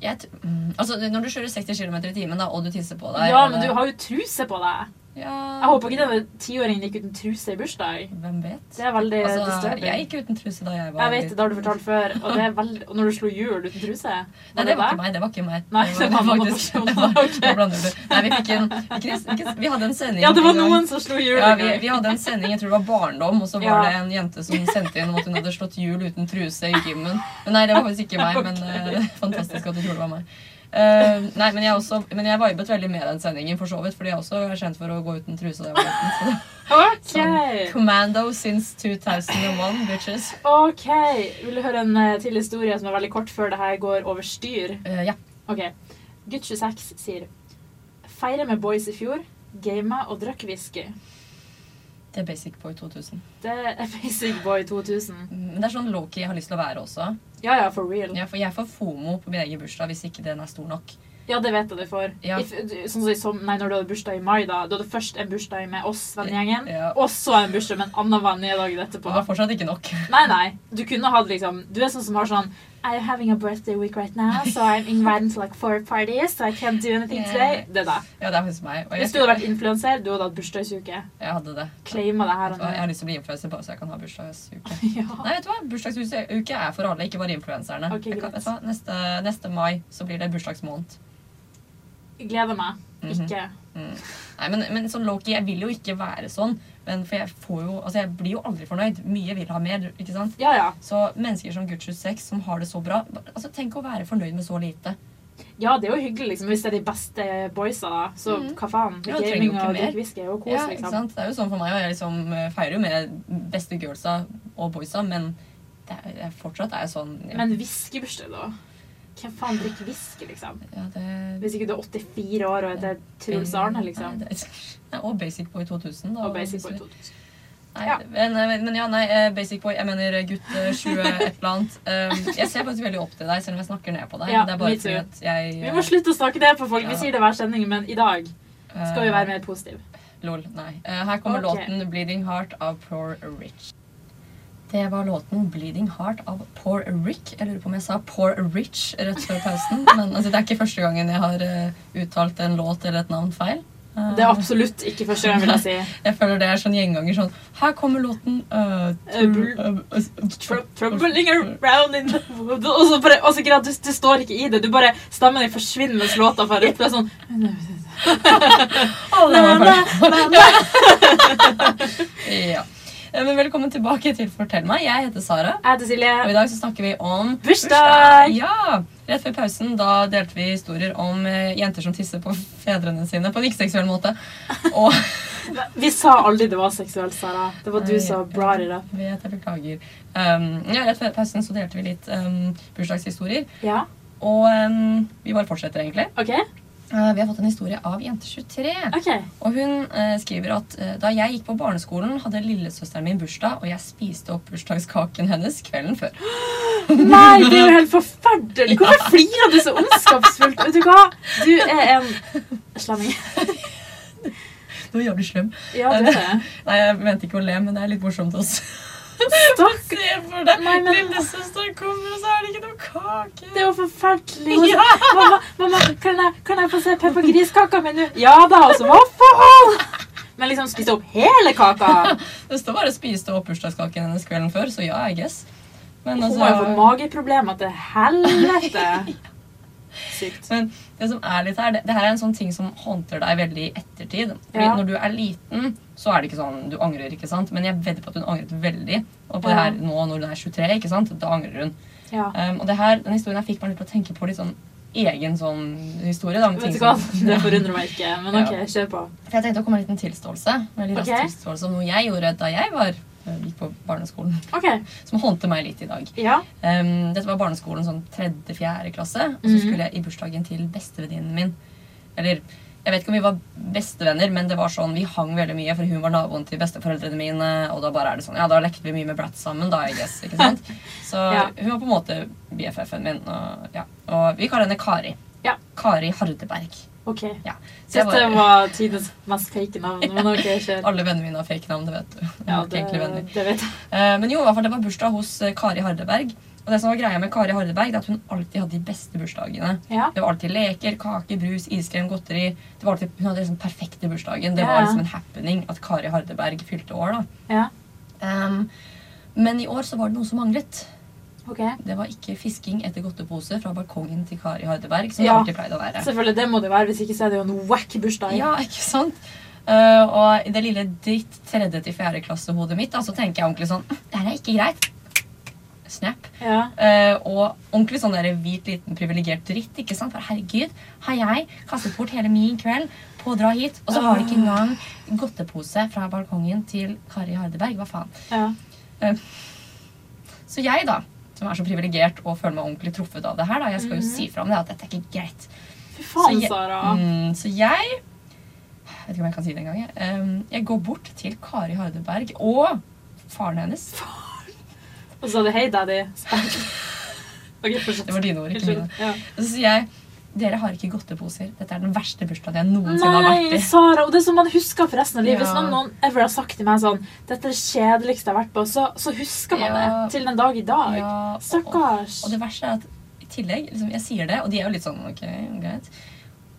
Speaker 1: Jeg t mm, altså, når du kjører 60 km i timen da, og du tisser på deg
Speaker 2: Ja,
Speaker 1: og
Speaker 2: men
Speaker 1: det-
Speaker 2: du har jo truse på deg.
Speaker 1: ja,
Speaker 2: Jeg håper ikke denne tiåringen gikk uten truse i bursdag.
Speaker 1: Hvem vet?
Speaker 2: Det er veldig
Speaker 1: Altså,
Speaker 2: disturbing.
Speaker 1: jeg gikk uten truse da jeg var
Speaker 2: Jeg vet det, det har du fortalt før. Og, det er veldig, og når du slo hjul uten truse
Speaker 1: Nei, det var ikke meg. Det var ikke meg.
Speaker 2: Nei, det var noen
Speaker 1: faktisk-
Speaker 2: personer.
Speaker 1: det var-
Speaker 2: Ok.
Speaker 1: Nå blander du. Nei, vi fikk en ikke, ikke, Vi hadde en sending.
Speaker 2: Ja, det var
Speaker 1: en gang.
Speaker 2: noen som slo hjul.
Speaker 1: Ja, vi, vi hadde en sending, jeg tror det var barndom, og så var
Speaker 2: Ja.
Speaker 1: det en jente som sendte inn om at hun hadde slått hjul uten truse i gymmen. Men nei, det var faktisk ikke meg, men eh, det er fantastisk at du tror det var meg. Eh, nei, men jeg, også, men jeg vibet veldig med den sendingen, for så vidt, fordi jeg også er kjent for å gå uten truse da jeg var liten. Så det-
Speaker 2: Ok.
Speaker 1: Commando since 2001, bitches.
Speaker 2: Ok, Vil du høre en eh, til historie som er veldig kort før det her går over styr?
Speaker 1: Eh, ja.
Speaker 2: Ok. Gutt 26 sier Feire med boys i fjor, gama og drakk whisky.
Speaker 1: Det er Basic Boy 2000.
Speaker 2: Det er Basic Boy 2000.
Speaker 1: Men det er sånn lowkey jeg har lyst til å være også.
Speaker 2: Ja ja, for real.
Speaker 1: Jeg får, jeg får fomo på min egen bursdag hvis ikke den er stor nok.
Speaker 2: Ja, det vet jeg du får.
Speaker 1: Ja.
Speaker 2: If, du- sånn som i som, nei, når du hadde bursdag i mai, da. Du hadde først en bursdag med oss, vennegjengen.
Speaker 1: Ja.
Speaker 2: Og så en bursdag med en annen venn i dagen
Speaker 1: Det
Speaker 2: etterpå.
Speaker 1: var fortsatt ikke nok.
Speaker 2: Nei, nei. Du kunne hatt liksom Du er sånn som har sånn I'm having a birthday week right now, so I'm invited to like four parties, so I can't do anything today. Det da.
Speaker 1: Ja, det er faktisk meg. Og jeg,
Speaker 2: Hvis du hadde vært influenser, du hadde hatt bursdagsuke.
Speaker 1: jeg hadde det.
Speaker 2: Claima det her
Speaker 1: Vet
Speaker 2: og
Speaker 1: du hva, Jeg
Speaker 2: nå.
Speaker 1: har lyst til å bli influenser bare så jeg kan ha bursdagsuke.
Speaker 2: Ja.
Speaker 1: Nei, vet du hva? Bursdagsuke er for alle, ikke bare influenserne.
Speaker 2: Ok,
Speaker 1: Jeg kan-
Speaker 2: greit.
Speaker 1: vet du hva? Neste, neste mai så blir det bursdagsmåned.
Speaker 2: Jeg Gleder meg.
Speaker 1: Mhm.
Speaker 2: Ikke.
Speaker 1: Nei, men, men sånn Loki, jeg vil jo ikke være sånn. Men for jeg får jo Altså, jeg blir jo aldri fornøyd. Mye vil ha mer, ikke sant?
Speaker 2: Ja, ja.
Speaker 1: Så mennesker som Gucci 6, som har det så bra Altså, Tenk å være fornøyd med så lite.
Speaker 2: Ja, det er jo hyggelig, liksom. Hvis det er de beste boysa, da. Så
Speaker 1: Mhm.
Speaker 2: hva faen.
Speaker 1: Ja, trenger jo
Speaker 2: Gaming
Speaker 1: ikke
Speaker 2: og
Speaker 1: mer.
Speaker 2: drikke whisky er jo kos,
Speaker 1: Ja, ikke
Speaker 2: liksom.
Speaker 1: sant? Det er jo sånn for meg, og jeg liksom eh, feirer jo med beste girlsa og boysa, men det er, jeg fortsatt er jeg sånn ja,
Speaker 2: Men whiskybursdag, da? Hvem faen drikker whisky, liksom?
Speaker 1: ja, det,
Speaker 2: Hvis ikke du er 84 år og heter Truls Arne, liksom.
Speaker 1: Nei, det, nei, og Basic Boy 2000. Da,
Speaker 2: Og Basic Boy
Speaker 1: hvis vi-
Speaker 2: 2000.
Speaker 1: Nei,
Speaker 2: Ja.
Speaker 1: men, men, men ja, nei, eh, Basic Boy, jeg mener eh, gutt eh, 20 et eller annet. Um, jeg ser faktisk veldig opp til deg, selv om jeg snakker ned på deg.
Speaker 2: Ja,
Speaker 1: det er
Speaker 2: me
Speaker 1: bare
Speaker 2: too.
Speaker 1: fordi at jeg
Speaker 2: Vi må slutte å snakke ned på folk.
Speaker 1: Ja.
Speaker 2: Vi sier det hver sending, men i dag
Speaker 1: eh,
Speaker 2: skal vi være mer positive.
Speaker 1: Lol, nei. Eh, her kommer
Speaker 2: Ok.
Speaker 1: låten 'Bleeding Heart' av Poor Rich. Det var låten 'Bleeding Heart' av Poor Rick. Jeg lurer på om jeg sa Poor Rich rett før pausen. Men altså, det er ikke første gangen jeg har eh, uttalt en låt eller et navn feil. Eh,
Speaker 2: Det er absolutt ikke første gang, vil jeg si.
Speaker 1: Jeg føler det er sånn gjenganger sånn Her kommer låten eh,
Speaker 2: Eh,
Speaker 1: tru- eh, eh,
Speaker 2: Tru- Troubling around in the wood Og så bare, og så greit, du, du står ikke i det. Du bare Stemmen din forsvinner mens låta farer ut. Det er sånn
Speaker 1: Alle
Speaker 2: Nei,
Speaker 1: var
Speaker 2: nei,
Speaker 1: ferdig. ja. Eh, Men velkommen tilbake til Fortell meg. Jeg heter Sara.
Speaker 2: Jeg
Speaker 1: Og
Speaker 2: heter
Speaker 1: i
Speaker 2: Silje.
Speaker 1: dag så snakker vi om
Speaker 2: Bursdag!
Speaker 1: Ja! Rett før pausen da delte vi historier om eh, jenter som tisser på fedrene sine på en ikke-seksuell måte. Og
Speaker 2: Vi sa aldri det var seksuelt, Sara. Det var du som brought it up.
Speaker 1: Jeg vet, jeg beklager. Um, ja, rett før pausen så delte vi litt um, bursdagshistorier.
Speaker 2: Ja,
Speaker 1: Og um, vi bare fortsetter, egentlig.
Speaker 2: OK?
Speaker 1: Eh, vi har fått en historie av Jente23.
Speaker 2: ok
Speaker 1: Og hun eh, skriver at eh, da jeg gikk på barneskolen, hadde lillesøsteren min bursdag, og jeg spiste opp bursdagskaken hennes kvelden før.
Speaker 2: Nei, det er jo helt forferdelig! Hvorfor flirer du så ondskapsfullt? Vet du hva? Du er en slemming.
Speaker 1: Du er jævlig slem.
Speaker 2: Ja, du er det.
Speaker 1: Nei, jeg mente ikke å le, men det er litt morsomt også.
Speaker 2: Takk.
Speaker 1: Se for deg,
Speaker 2: Nei, men-
Speaker 1: lillesøster kommer, og så er det ikke noe kake.
Speaker 2: Det er jo forferdelig. Hun sa, Mamma, mamma kan, jeg, kan jeg få se peppergriskaka mi nå? Ja da, og så vaffel! Men liksom spise opp hele kaka.
Speaker 1: Det står bare 'spiste opp bursdagskaken hennes kvelden før', så ja, I guess. Men
Speaker 2: Hun har jo fått
Speaker 1: altså,
Speaker 2: mageproblemer til helvete. Sykt.
Speaker 1: men det som er litt her, det, det her er en sånn ting som håndter deg veldig i ettertid. Fordi
Speaker 2: Ja.
Speaker 1: Når du er liten, så er det ikke sånn du angrer, ikke sant? Men jeg vedder på at hun angret veldig. Og på det
Speaker 2: Ja.
Speaker 1: her nå når hun er 23, ikke sant? da angrer hun.
Speaker 2: Ja.
Speaker 1: Um, og det her, den historien her fikk meg litt til å tenke på litt sånn egen sånn historie. Da, med
Speaker 2: Vet
Speaker 1: ting
Speaker 2: du hva,
Speaker 1: som-
Speaker 2: det forundrer meg ikke, men ok, kjør på.
Speaker 1: For jeg tenkte å komme med en liten tilståelse. En veldig rask
Speaker 2: Ok.
Speaker 1: tilståelse om noe jeg gjorde da jeg var, eh, gikk på barneskolen.
Speaker 2: Ok,
Speaker 1: Som håndte meg litt i dag.
Speaker 2: ja.
Speaker 1: Ehm, dette var barneskolen sånn tredje-fjerde klasse. Og så
Speaker 2: Mhm.
Speaker 1: skulle jeg i bursdagen til bestevenninnen min. Eller jeg vet ikke om vi var bestevenner, men det var sånn, vi hang veldig mye, for hun var naboen til besteforeldrene mine. Og da bare er det sånn, ja, da lekte vi mye med Bratz sammen, da, I guess. ikke sant? Så
Speaker 2: Ja.
Speaker 1: hun var på en måte BFF-en min. Og, ja. og vi kaller henne Kari.
Speaker 2: Ja.
Speaker 1: Kari Hardeberg.
Speaker 2: Ok.
Speaker 1: Ja. Så jeg var-
Speaker 2: Dette var tidens mest fake navn, men ok, kjør.
Speaker 1: alle vennene mine har fake navn, det vet du. Jeg
Speaker 2: Ja,
Speaker 1: har ikke
Speaker 2: det,
Speaker 1: egentlig venner.
Speaker 2: det vet jeg.
Speaker 1: Eh, Men jo, i hvert fall, det var bursdag hos eh, Kari Hardeberg. Og det som var greia med Kari Hardeberg, det er at hun alltid hadde de beste bursdagene.
Speaker 2: Ja.
Speaker 1: Det var alltid leker, kake, brus, iskrem, godteri. Det var alltid, hun hadde liksom perfekte bursdagen. Det
Speaker 2: Ja,
Speaker 1: var
Speaker 2: ja.
Speaker 1: liksom en happening at Kari Hardeberg fylte år. da.
Speaker 2: Ja,
Speaker 1: Ehm, men i år så var det noe som manglet.
Speaker 2: ok.
Speaker 1: Det var ikke fisking etter godtepose fra balkongen til Kari Hardeberg. som det
Speaker 2: Ja.
Speaker 1: alltid pleide å være.
Speaker 2: Selvfølgelig, det må det være, hvis ikke så er det jo en whack bursdag.
Speaker 1: Ja, ikke sant? Eh, og i det lille dritt tredje til fjerde klassehodet mitt, da, så tenker jeg ordentlig sånn Det her er ikke greit. Snap.
Speaker 2: Ja.
Speaker 1: Eh, og ordentlig sånn der hvit, liten, privilegert dritt. ikke sant? For herregud, har jeg kastet bort hele min kveld på å dra hit, og så har de ikke engang godtepose fra balkongen til Kari Hardeberg. Hva faen?
Speaker 2: Ja.
Speaker 1: Så jeg, da, som er så privilegert og føler meg ordentlig truffet av det her, da, jeg skal jo si fra om det at dette er ikke greit.
Speaker 2: Fy
Speaker 1: Så
Speaker 2: faen,
Speaker 1: jeg-
Speaker 2: Sara.
Speaker 1: Mm, så jeg Jeg vet ikke om jeg kan si det engang. jeg. Um, jeg går bort til Kari Hardeberg og faren hennes.
Speaker 2: Og så sa du hei, daddy. Spank. Ok, fortsett.
Speaker 1: Det var dine ord, ikke mine.
Speaker 2: Ja.
Speaker 1: Og så sier jeg dere har ikke godteposer. Dette er den verste bursdagen jeg noensinne har vært
Speaker 2: Nei,
Speaker 1: i.
Speaker 2: Sara. Og det som man husker for resten av livet. Hvis
Speaker 1: Ja.
Speaker 2: noen, noen ever har sagt til meg sånn Dette er det kjedeligste jeg har vært på, så, så husker man
Speaker 1: Ja.
Speaker 2: det til den dag i dag.
Speaker 1: Ja, og, og,
Speaker 2: Stakkars.
Speaker 1: og det verste er at i tillegg liksom, Jeg sier det, og de er jo litt sånn OK, greit.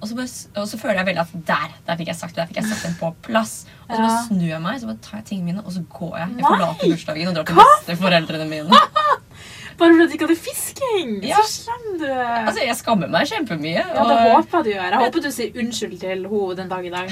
Speaker 1: Og så, bare, s- og så føler jeg veldig at der der fikk jeg sagt det. Der fikk jeg satt den på plass. Og så bare
Speaker 2: Ja.
Speaker 1: snur jeg meg, så bare tar jeg tingene mine, og så går jeg. Jeg
Speaker 2: Nei!
Speaker 1: forlater bursdagen og drar til besteforeldrene mine.
Speaker 2: Bare fordi du ikke hadde fisking!
Speaker 1: Ja.
Speaker 2: Så slem du er.
Speaker 1: Altså, Jeg skammer meg kjempemye.
Speaker 2: ja, det
Speaker 1: og-
Speaker 2: håper jeg du gjør. Jeg håper du sier unnskyld til henne den dag i dag.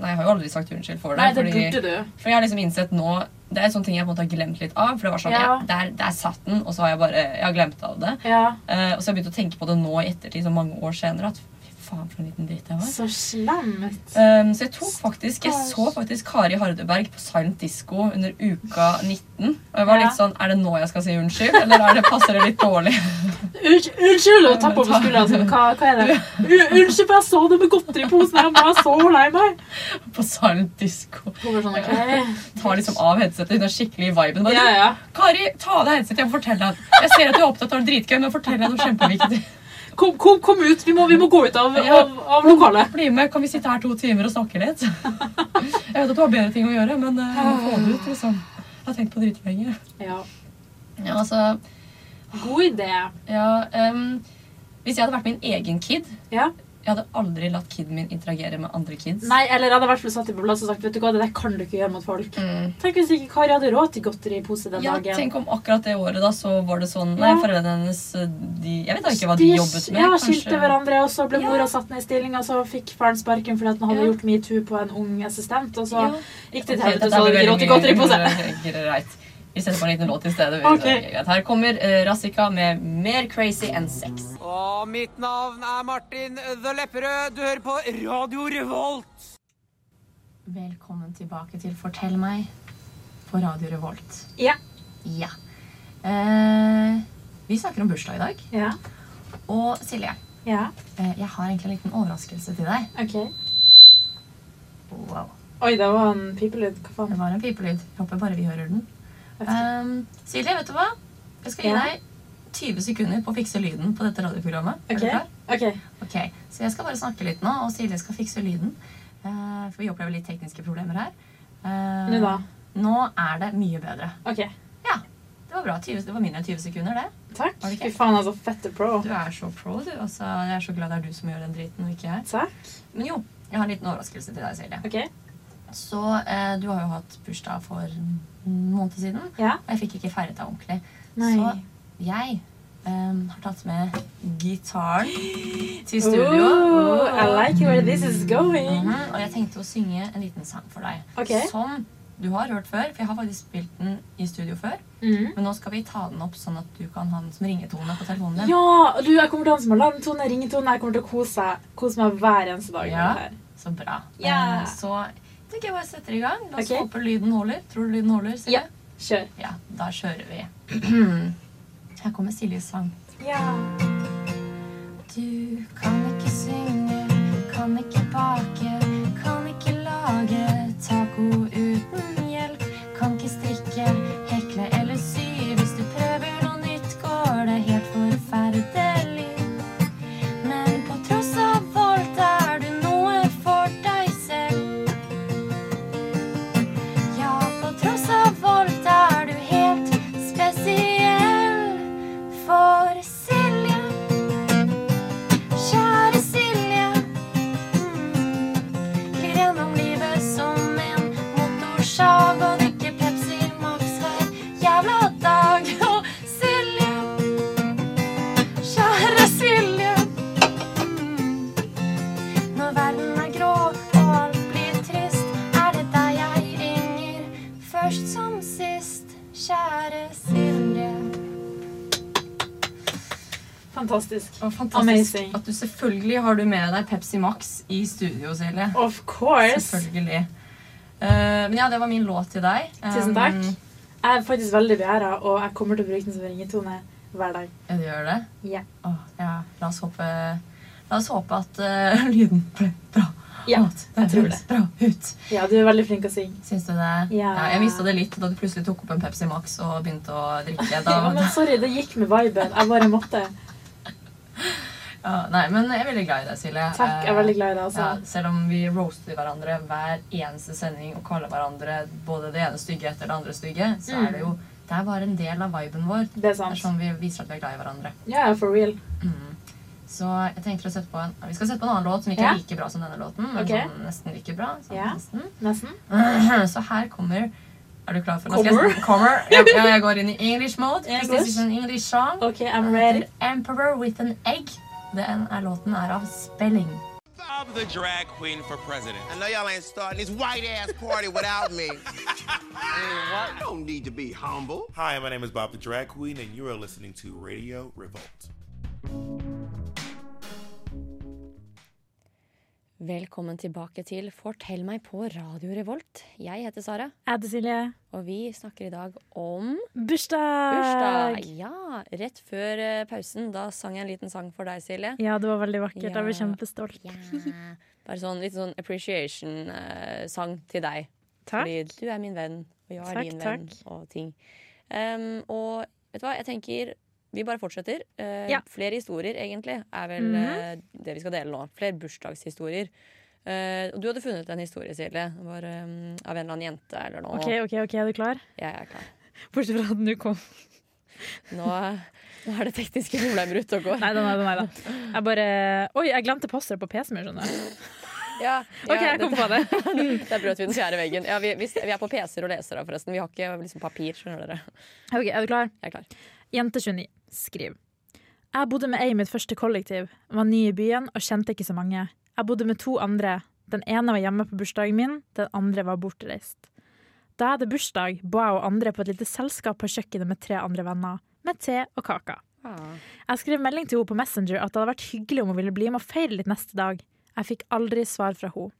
Speaker 1: Nei, jeg har jo aldri sagt unnskyld for det.
Speaker 2: Nei, det
Speaker 1: fordi,
Speaker 2: burde du.
Speaker 1: for jeg har liksom innsett nå Det er en sånn ting jeg på en måte har glemt litt av. For det var sånn, ja,
Speaker 2: Ja.
Speaker 1: der, der satt den, og så har jeg bare jeg har glemt av det.
Speaker 2: Ja.
Speaker 1: Eh, og så har jeg begynt å tenke på det nå i ettertid, så mange år senere. At fy faen, for en liten dritt jeg var.
Speaker 2: Så slemt.
Speaker 1: Um, så jeg tok faktisk Jeg
Speaker 2: Stakkars.
Speaker 1: så faktisk Kari Hardeberg på Silent Disco under uka 19. Og jeg var
Speaker 2: Ja.
Speaker 1: litt sånn Er det nå jeg skal si unnskyld, eller er det, passer det litt dårlig?
Speaker 2: Unnskyld, unnskyld! Og tappe over skuldra. Altså. Hva, hva er det? Un- Unnskyld, for jeg så det med godteri i posen. Jeg var så lei meg.
Speaker 1: På Silent Disco.
Speaker 2: Hun bare sånn, ok.
Speaker 1: Tar liksom av headsetet. Hun er skikkelig i viben. Bare,
Speaker 2: Ja, ja.
Speaker 1: Kari, ta av deg headsetet. Jeg må fortelle deg Jeg ser at du er opptatt av det dritgøy, men fortell deg noe kjempeviktig.
Speaker 2: Kom, kom, kom ut! Vi må, vi må gå ut av,
Speaker 1: Ja.
Speaker 2: av, av lokalet.
Speaker 1: Bli med, kan vi sitte her to timer og snakke litt? Jeg vet at du har bedre ting å gjøre, men eh, jeg må få det ut, liksom. Jeg har tenkt på det dritlenge.
Speaker 2: Ja.
Speaker 1: Ja, altså
Speaker 2: God idé.
Speaker 1: Ja, ehm, hvis jeg hadde vært min egen kid
Speaker 2: Ja.
Speaker 1: Jeg hadde aldri latt kiden min interagere med andre kids.
Speaker 2: Nei, eller jeg hadde i hvert fall satt dem på plass og sagt vet du hva, det der kan du ikke gjøre mot folk.
Speaker 1: Mm.
Speaker 2: Tenk hvis ikke Kari hadde råd til godteripose den
Speaker 1: Ja,
Speaker 2: dagen.
Speaker 1: tenk om akkurat det året da, så var det sånn Nei,
Speaker 2: Ja.
Speaker 1: foreldrene hennes eh, de, Jeg vet da ikke hva de jobbet med.
Speaker 2: Ja,
Speaker 1: kanskje-
Speaker 2: skilte hverandre, og så ble
Speaker 1: Ja.
Speaker 2: mora satt ned i stilling, og så fikk faren sparken fordi at han hadde
Speaker 1: Ja.
Speaker 2: gjort metoo på en ung assistent, og så
Speaker 1: Ja.
Speaker 2: gikk det til
Speaker 1: Ok,
Speaker 2: helvete,
Speaker 1: dette
Speaker 2: så
Speaker 1: blir
Speaker 2: hadde de ikke råd til
Speaker 1: veldig
Speaker 2: godteripose.
Speaker 1: mye- Greit. Vi setter på en liten låt i stedet.
Speaker 2: Ok.
Speaker 1: Greit. Her kommer eh, Razika med mer crazy enn sex.
Speaker 5: Og mitt navn er Martin The Lepperød. Du hører på Radio Revolt.
Speaker 1: Velkommen tilbake til Fortell meg på Radio Revolt.
Speaker 2: Ja.
Speaker 1: Ja. Eh, vi snakker om bursdag i dag.
Speaker 2: Ja.
Speaker 1: Og Silje,
Speaker 2: ja.
Speaker 1: eh, jeg har egentlig en liten overraskelse til deg.
Speaker 2: Ok.
Speaker 1: Wow.
Speaker 2: Oi, det var en pipelyd. Hva faen?
Speaker 1: Det var en pipelyd. Jeg håper bare vi hører den.
Speaker 2: Vet ikke.
Speaker 1: Um, Silje, vet du hva? Jeg skal gi
Speaker 2: Ja.
Speaker 1: deg 20 sekunder på å fikse lyden på dette radioprogrammet. Er du
Speaker 2: Ok.
Speaker 1: klar?
Speaker 2: OK.
Speaker 1: Ok, Så jeg skal bare snakke litt nå, og Silje skal fikse lyden. Eh, for vi opplever litt tekniske problemer her. Eh,
Speaker 2: Nå, da.
Speaker 1: Nå er det mye bedre.
Speaker 2: OK.
Speaker 1: Ja, det var bra. 20, det var mindre enn 20 sekunder, det.
Speaker 2: Takk.
Speaker 1: Var det ikke?
Speaker 2: Fy faen, altså. Fette pro.
Speaker 1: Du er så pro, du. Altså, jeg er så glad det er du som gjør den driten, og ikke jeg.
Speaker 2: Takk.
Speaker 1: Men jo, jeg har en liten overraskelse til deg, Silje.
Speaker 2: OK.
Speaker 1: Så eh, du har jo hatt bursdag for en måned siden,
Speaker 2: Ja.
Speaker 1: og jeg fikk ikke feiret deg ordentlig.
Speaker 2: Nei.
Speaker 1: Så jeg em, har tatt med gitaren til studio.
Speaker 2: Ooh, I like where this is going.
Speaker 1: Mhm, og jeg tenkte å synge en liten sang for deg.
Speaker 2: Ok.
Speaker 1: Som du har hørt før, for jeg har faktisk spilt den i studio før.
Speaker 2: Mm.
Speaker 1: Men nå skal vi ta den opp sånn at du kan ha den som ringetone på telefonen din.
Speaker 2: Ja, og du, jeg kommer til å danse med alarmtone, ringetone. Jeg kommer til å kose, kose meg hver eneste dag. med
Speaker 1: Ja.
Speaker 2: det her.
Speaker 1: Så bra.
Speaker 2: Ja.
Speaker 1: Eh, Så tenker jeg bare setter i gang. La oss
Speaker 2: Ok.
Speaker 1: håpe lyden holder. Tror du lyden holder? Silje?
Speaker 2: Ja. Kjør.
Speaker 1: ja. Da kjører vi. Her kommer Siljes sang.
Speaker 2: Ja.
Speaker 1: Du kan ikke synge, kan ikke bake, kan ikke lage taco uten hjelp. Kan ikke strikke, hekle eller sy. Hvis du prøver noe nytt, går det helt forferdelig. Men på tross av alt er du noe for deg selv. Ja, på tross av alt er du helt spesiell for Silje. Kjære Silje. Mm. Glir gjennom livet som en motorsag og drikker Pepsi Max hver jævla dag. Og Silje, kjære Silje. Mm. Når verden er grå og alt blir trist, er det deg jeg ringer. Først som sist, kjære Silje.
Speaker 2: Fantastisk.
Speaker 1: Og fantastisk
Speaker 2: Amazing.
Speaker 1: at du selvfølgelig har du med deg Pepsi Max i studio, Silje.
Speaker 2: Of course.
Speaker 1: Selvfølgelig. Eh, men ja, det var min låt til deg. Um,
Speaker 2: Tusen takk. Jeg er faktisk veldig beæra, og jeg kommer til å bruke den som ringetone hver dag.
Speaker 1: Ja, du gjør det?
Speaker 2: Ja.
Speaker 1: Åh, ja. La oss håpe, la oss håpe at eh, lyden ble bra.
Speaker 2: Ja,
Speaker 1: At det
Speaker 2: jeg tror
Speaker 1: høres bra ut.
Speaker 2: Ja, du er veldig flink å synge.
Speaker 1: Syns du det?
Speaker 2: Ja.
Speaker 1: jeg mista det litt da du plutselig tok opp en Pepsi Max og begynte å drikke. Da,
Speaker 2: Ja, men sorry, det gikk med viben. Jeg bare måtte.
Speaker 1: ja, nei, men jeg er veldig glad i deg, Silje. Eh,
Speaker 2: Takk, jeg er veldig glad i deg,
Speaker 1: Ja,
Speaker 2: altså.
Speaker 1: selv om vi roaster hverandre hver eneste sending og kaller hverandre både det ene stygge etter det andre stygge, så er det
Speaker 2: Mm.
Speaker 1: jo Det er bare en del av viben vår.
Speaker 2: Det er
Speaker 1: Det er
Speaker 2: sant.
Speaker 1: sånn vi viser at vi er glad i hverandre.
Speaker 2: Ja, for real.
Speaker 1: Så jeg tenker å sette på en Vi skal sette på en annen låt som ikke
Speaker 2: Ja.
Speaker 1: er like bra som denne låten, men
Speaker 2: Ok.
Speaker 1: sånn nesten like bra. Sånn,
Speaker 2: Ja.
Speaker 1: nesten.
Speaker 2: Nesten.
Speaker 1: Så her kommer Er du klar for Nå skal jeg- Kommer? Ja, ja, jeg går inn i English mode.
Speaker 2: English.
Speaker 1: This is an English song.
Speaker 2: OK, I'm ready.
Speaker 1: The Emperor with an egg. Den er låten er av Spelling.
Speaker 6: Bob the drag queen for president.
Speaker 7: I know y'all ain't starting this white ass party without me. I don't need to be humble.
Speaker 6: Hi, my name is Bob the drag queen, and you are listening to Radio Revolt.
Speaker 8: Velkommen tilbake til Fortell meg på Radio Revolt. Jeg heter Sara,
Speaker 2: Jeg heter Silje.
Speaker 8: og vi snakker i dag om
Speaker 2: Bursdag!
Speaker 8: bursdag. Ja, rett før eh, pausen. Da sang jeg en liten sang for deg, Silje.
Speaker 2: Ja, det var veldig vakkert.
Speaker 8: Jeg ble Ja.
Speaker 2: kjempestolt.
Speaker 8: Ja. Bare sånn litt sånn appreciation-sang til deg. Fordi du er min venn, og jeg er
Speaker 2: Takk,
Speaker 8: din venn,
Speaker 2: takk.
Speaker 8: og ting. Um, og vet du hva, jeg tenker vi bare fortsetter. Eh,
Speaker 2: Ja. Mhm.
Speaker 8: Flere historier, egentlig, er vel eh, det vi skal dele nå. Flere bursdagshistorier. Eh, og du hadde funnet en historie, Silje, Det var, um, av en eller annen jente eller noe.
Speaker 2: OK, OK, er du klar?
Speaker 8: Jeg er klar.
Speaker 2: Bortsett fra at den du kom
Speaker 8: Nå, nå er det tekniske problemer ute og går.
Speaker 2: Nei da, nei da. nei da. Jeg bare Oi, jeg glemte passordet på PC-en min, skjønner du.
Speaker 8: Ja, ja,
Speaker 2: OK, jeg kom
Speaker 8: dette-
Speaker 2: på det.
Speaker 8: Der brøt vi den fjerde veggen. Ja, vi, vi, vi er på PC-er og lesere, forresten. Vi har ikke liksom, papir, skjønner dere.
Speaker 2: OK, er du klar?
Speaker 8: Jeg er klar.
Speaker 2: Jente 29. Skriv. Jeg bodde med ei i mitt første kollektiv. Var ny i byen og kjente ikke så mange. Jeg bodde med to andre. Den ene var hjemme på bursdagen min, den andre var bortreist. Da jeg hadde bursdag, ba jeg og andre på et lite selskap på kjøkkenet med tre andre venner. Med te og kaker. Jeg skrev melding til henne på Messenger at det hadde vært hyggelig om hun ville bli med og feire litt neste dag. Jeg fikk aldri svar fra henne.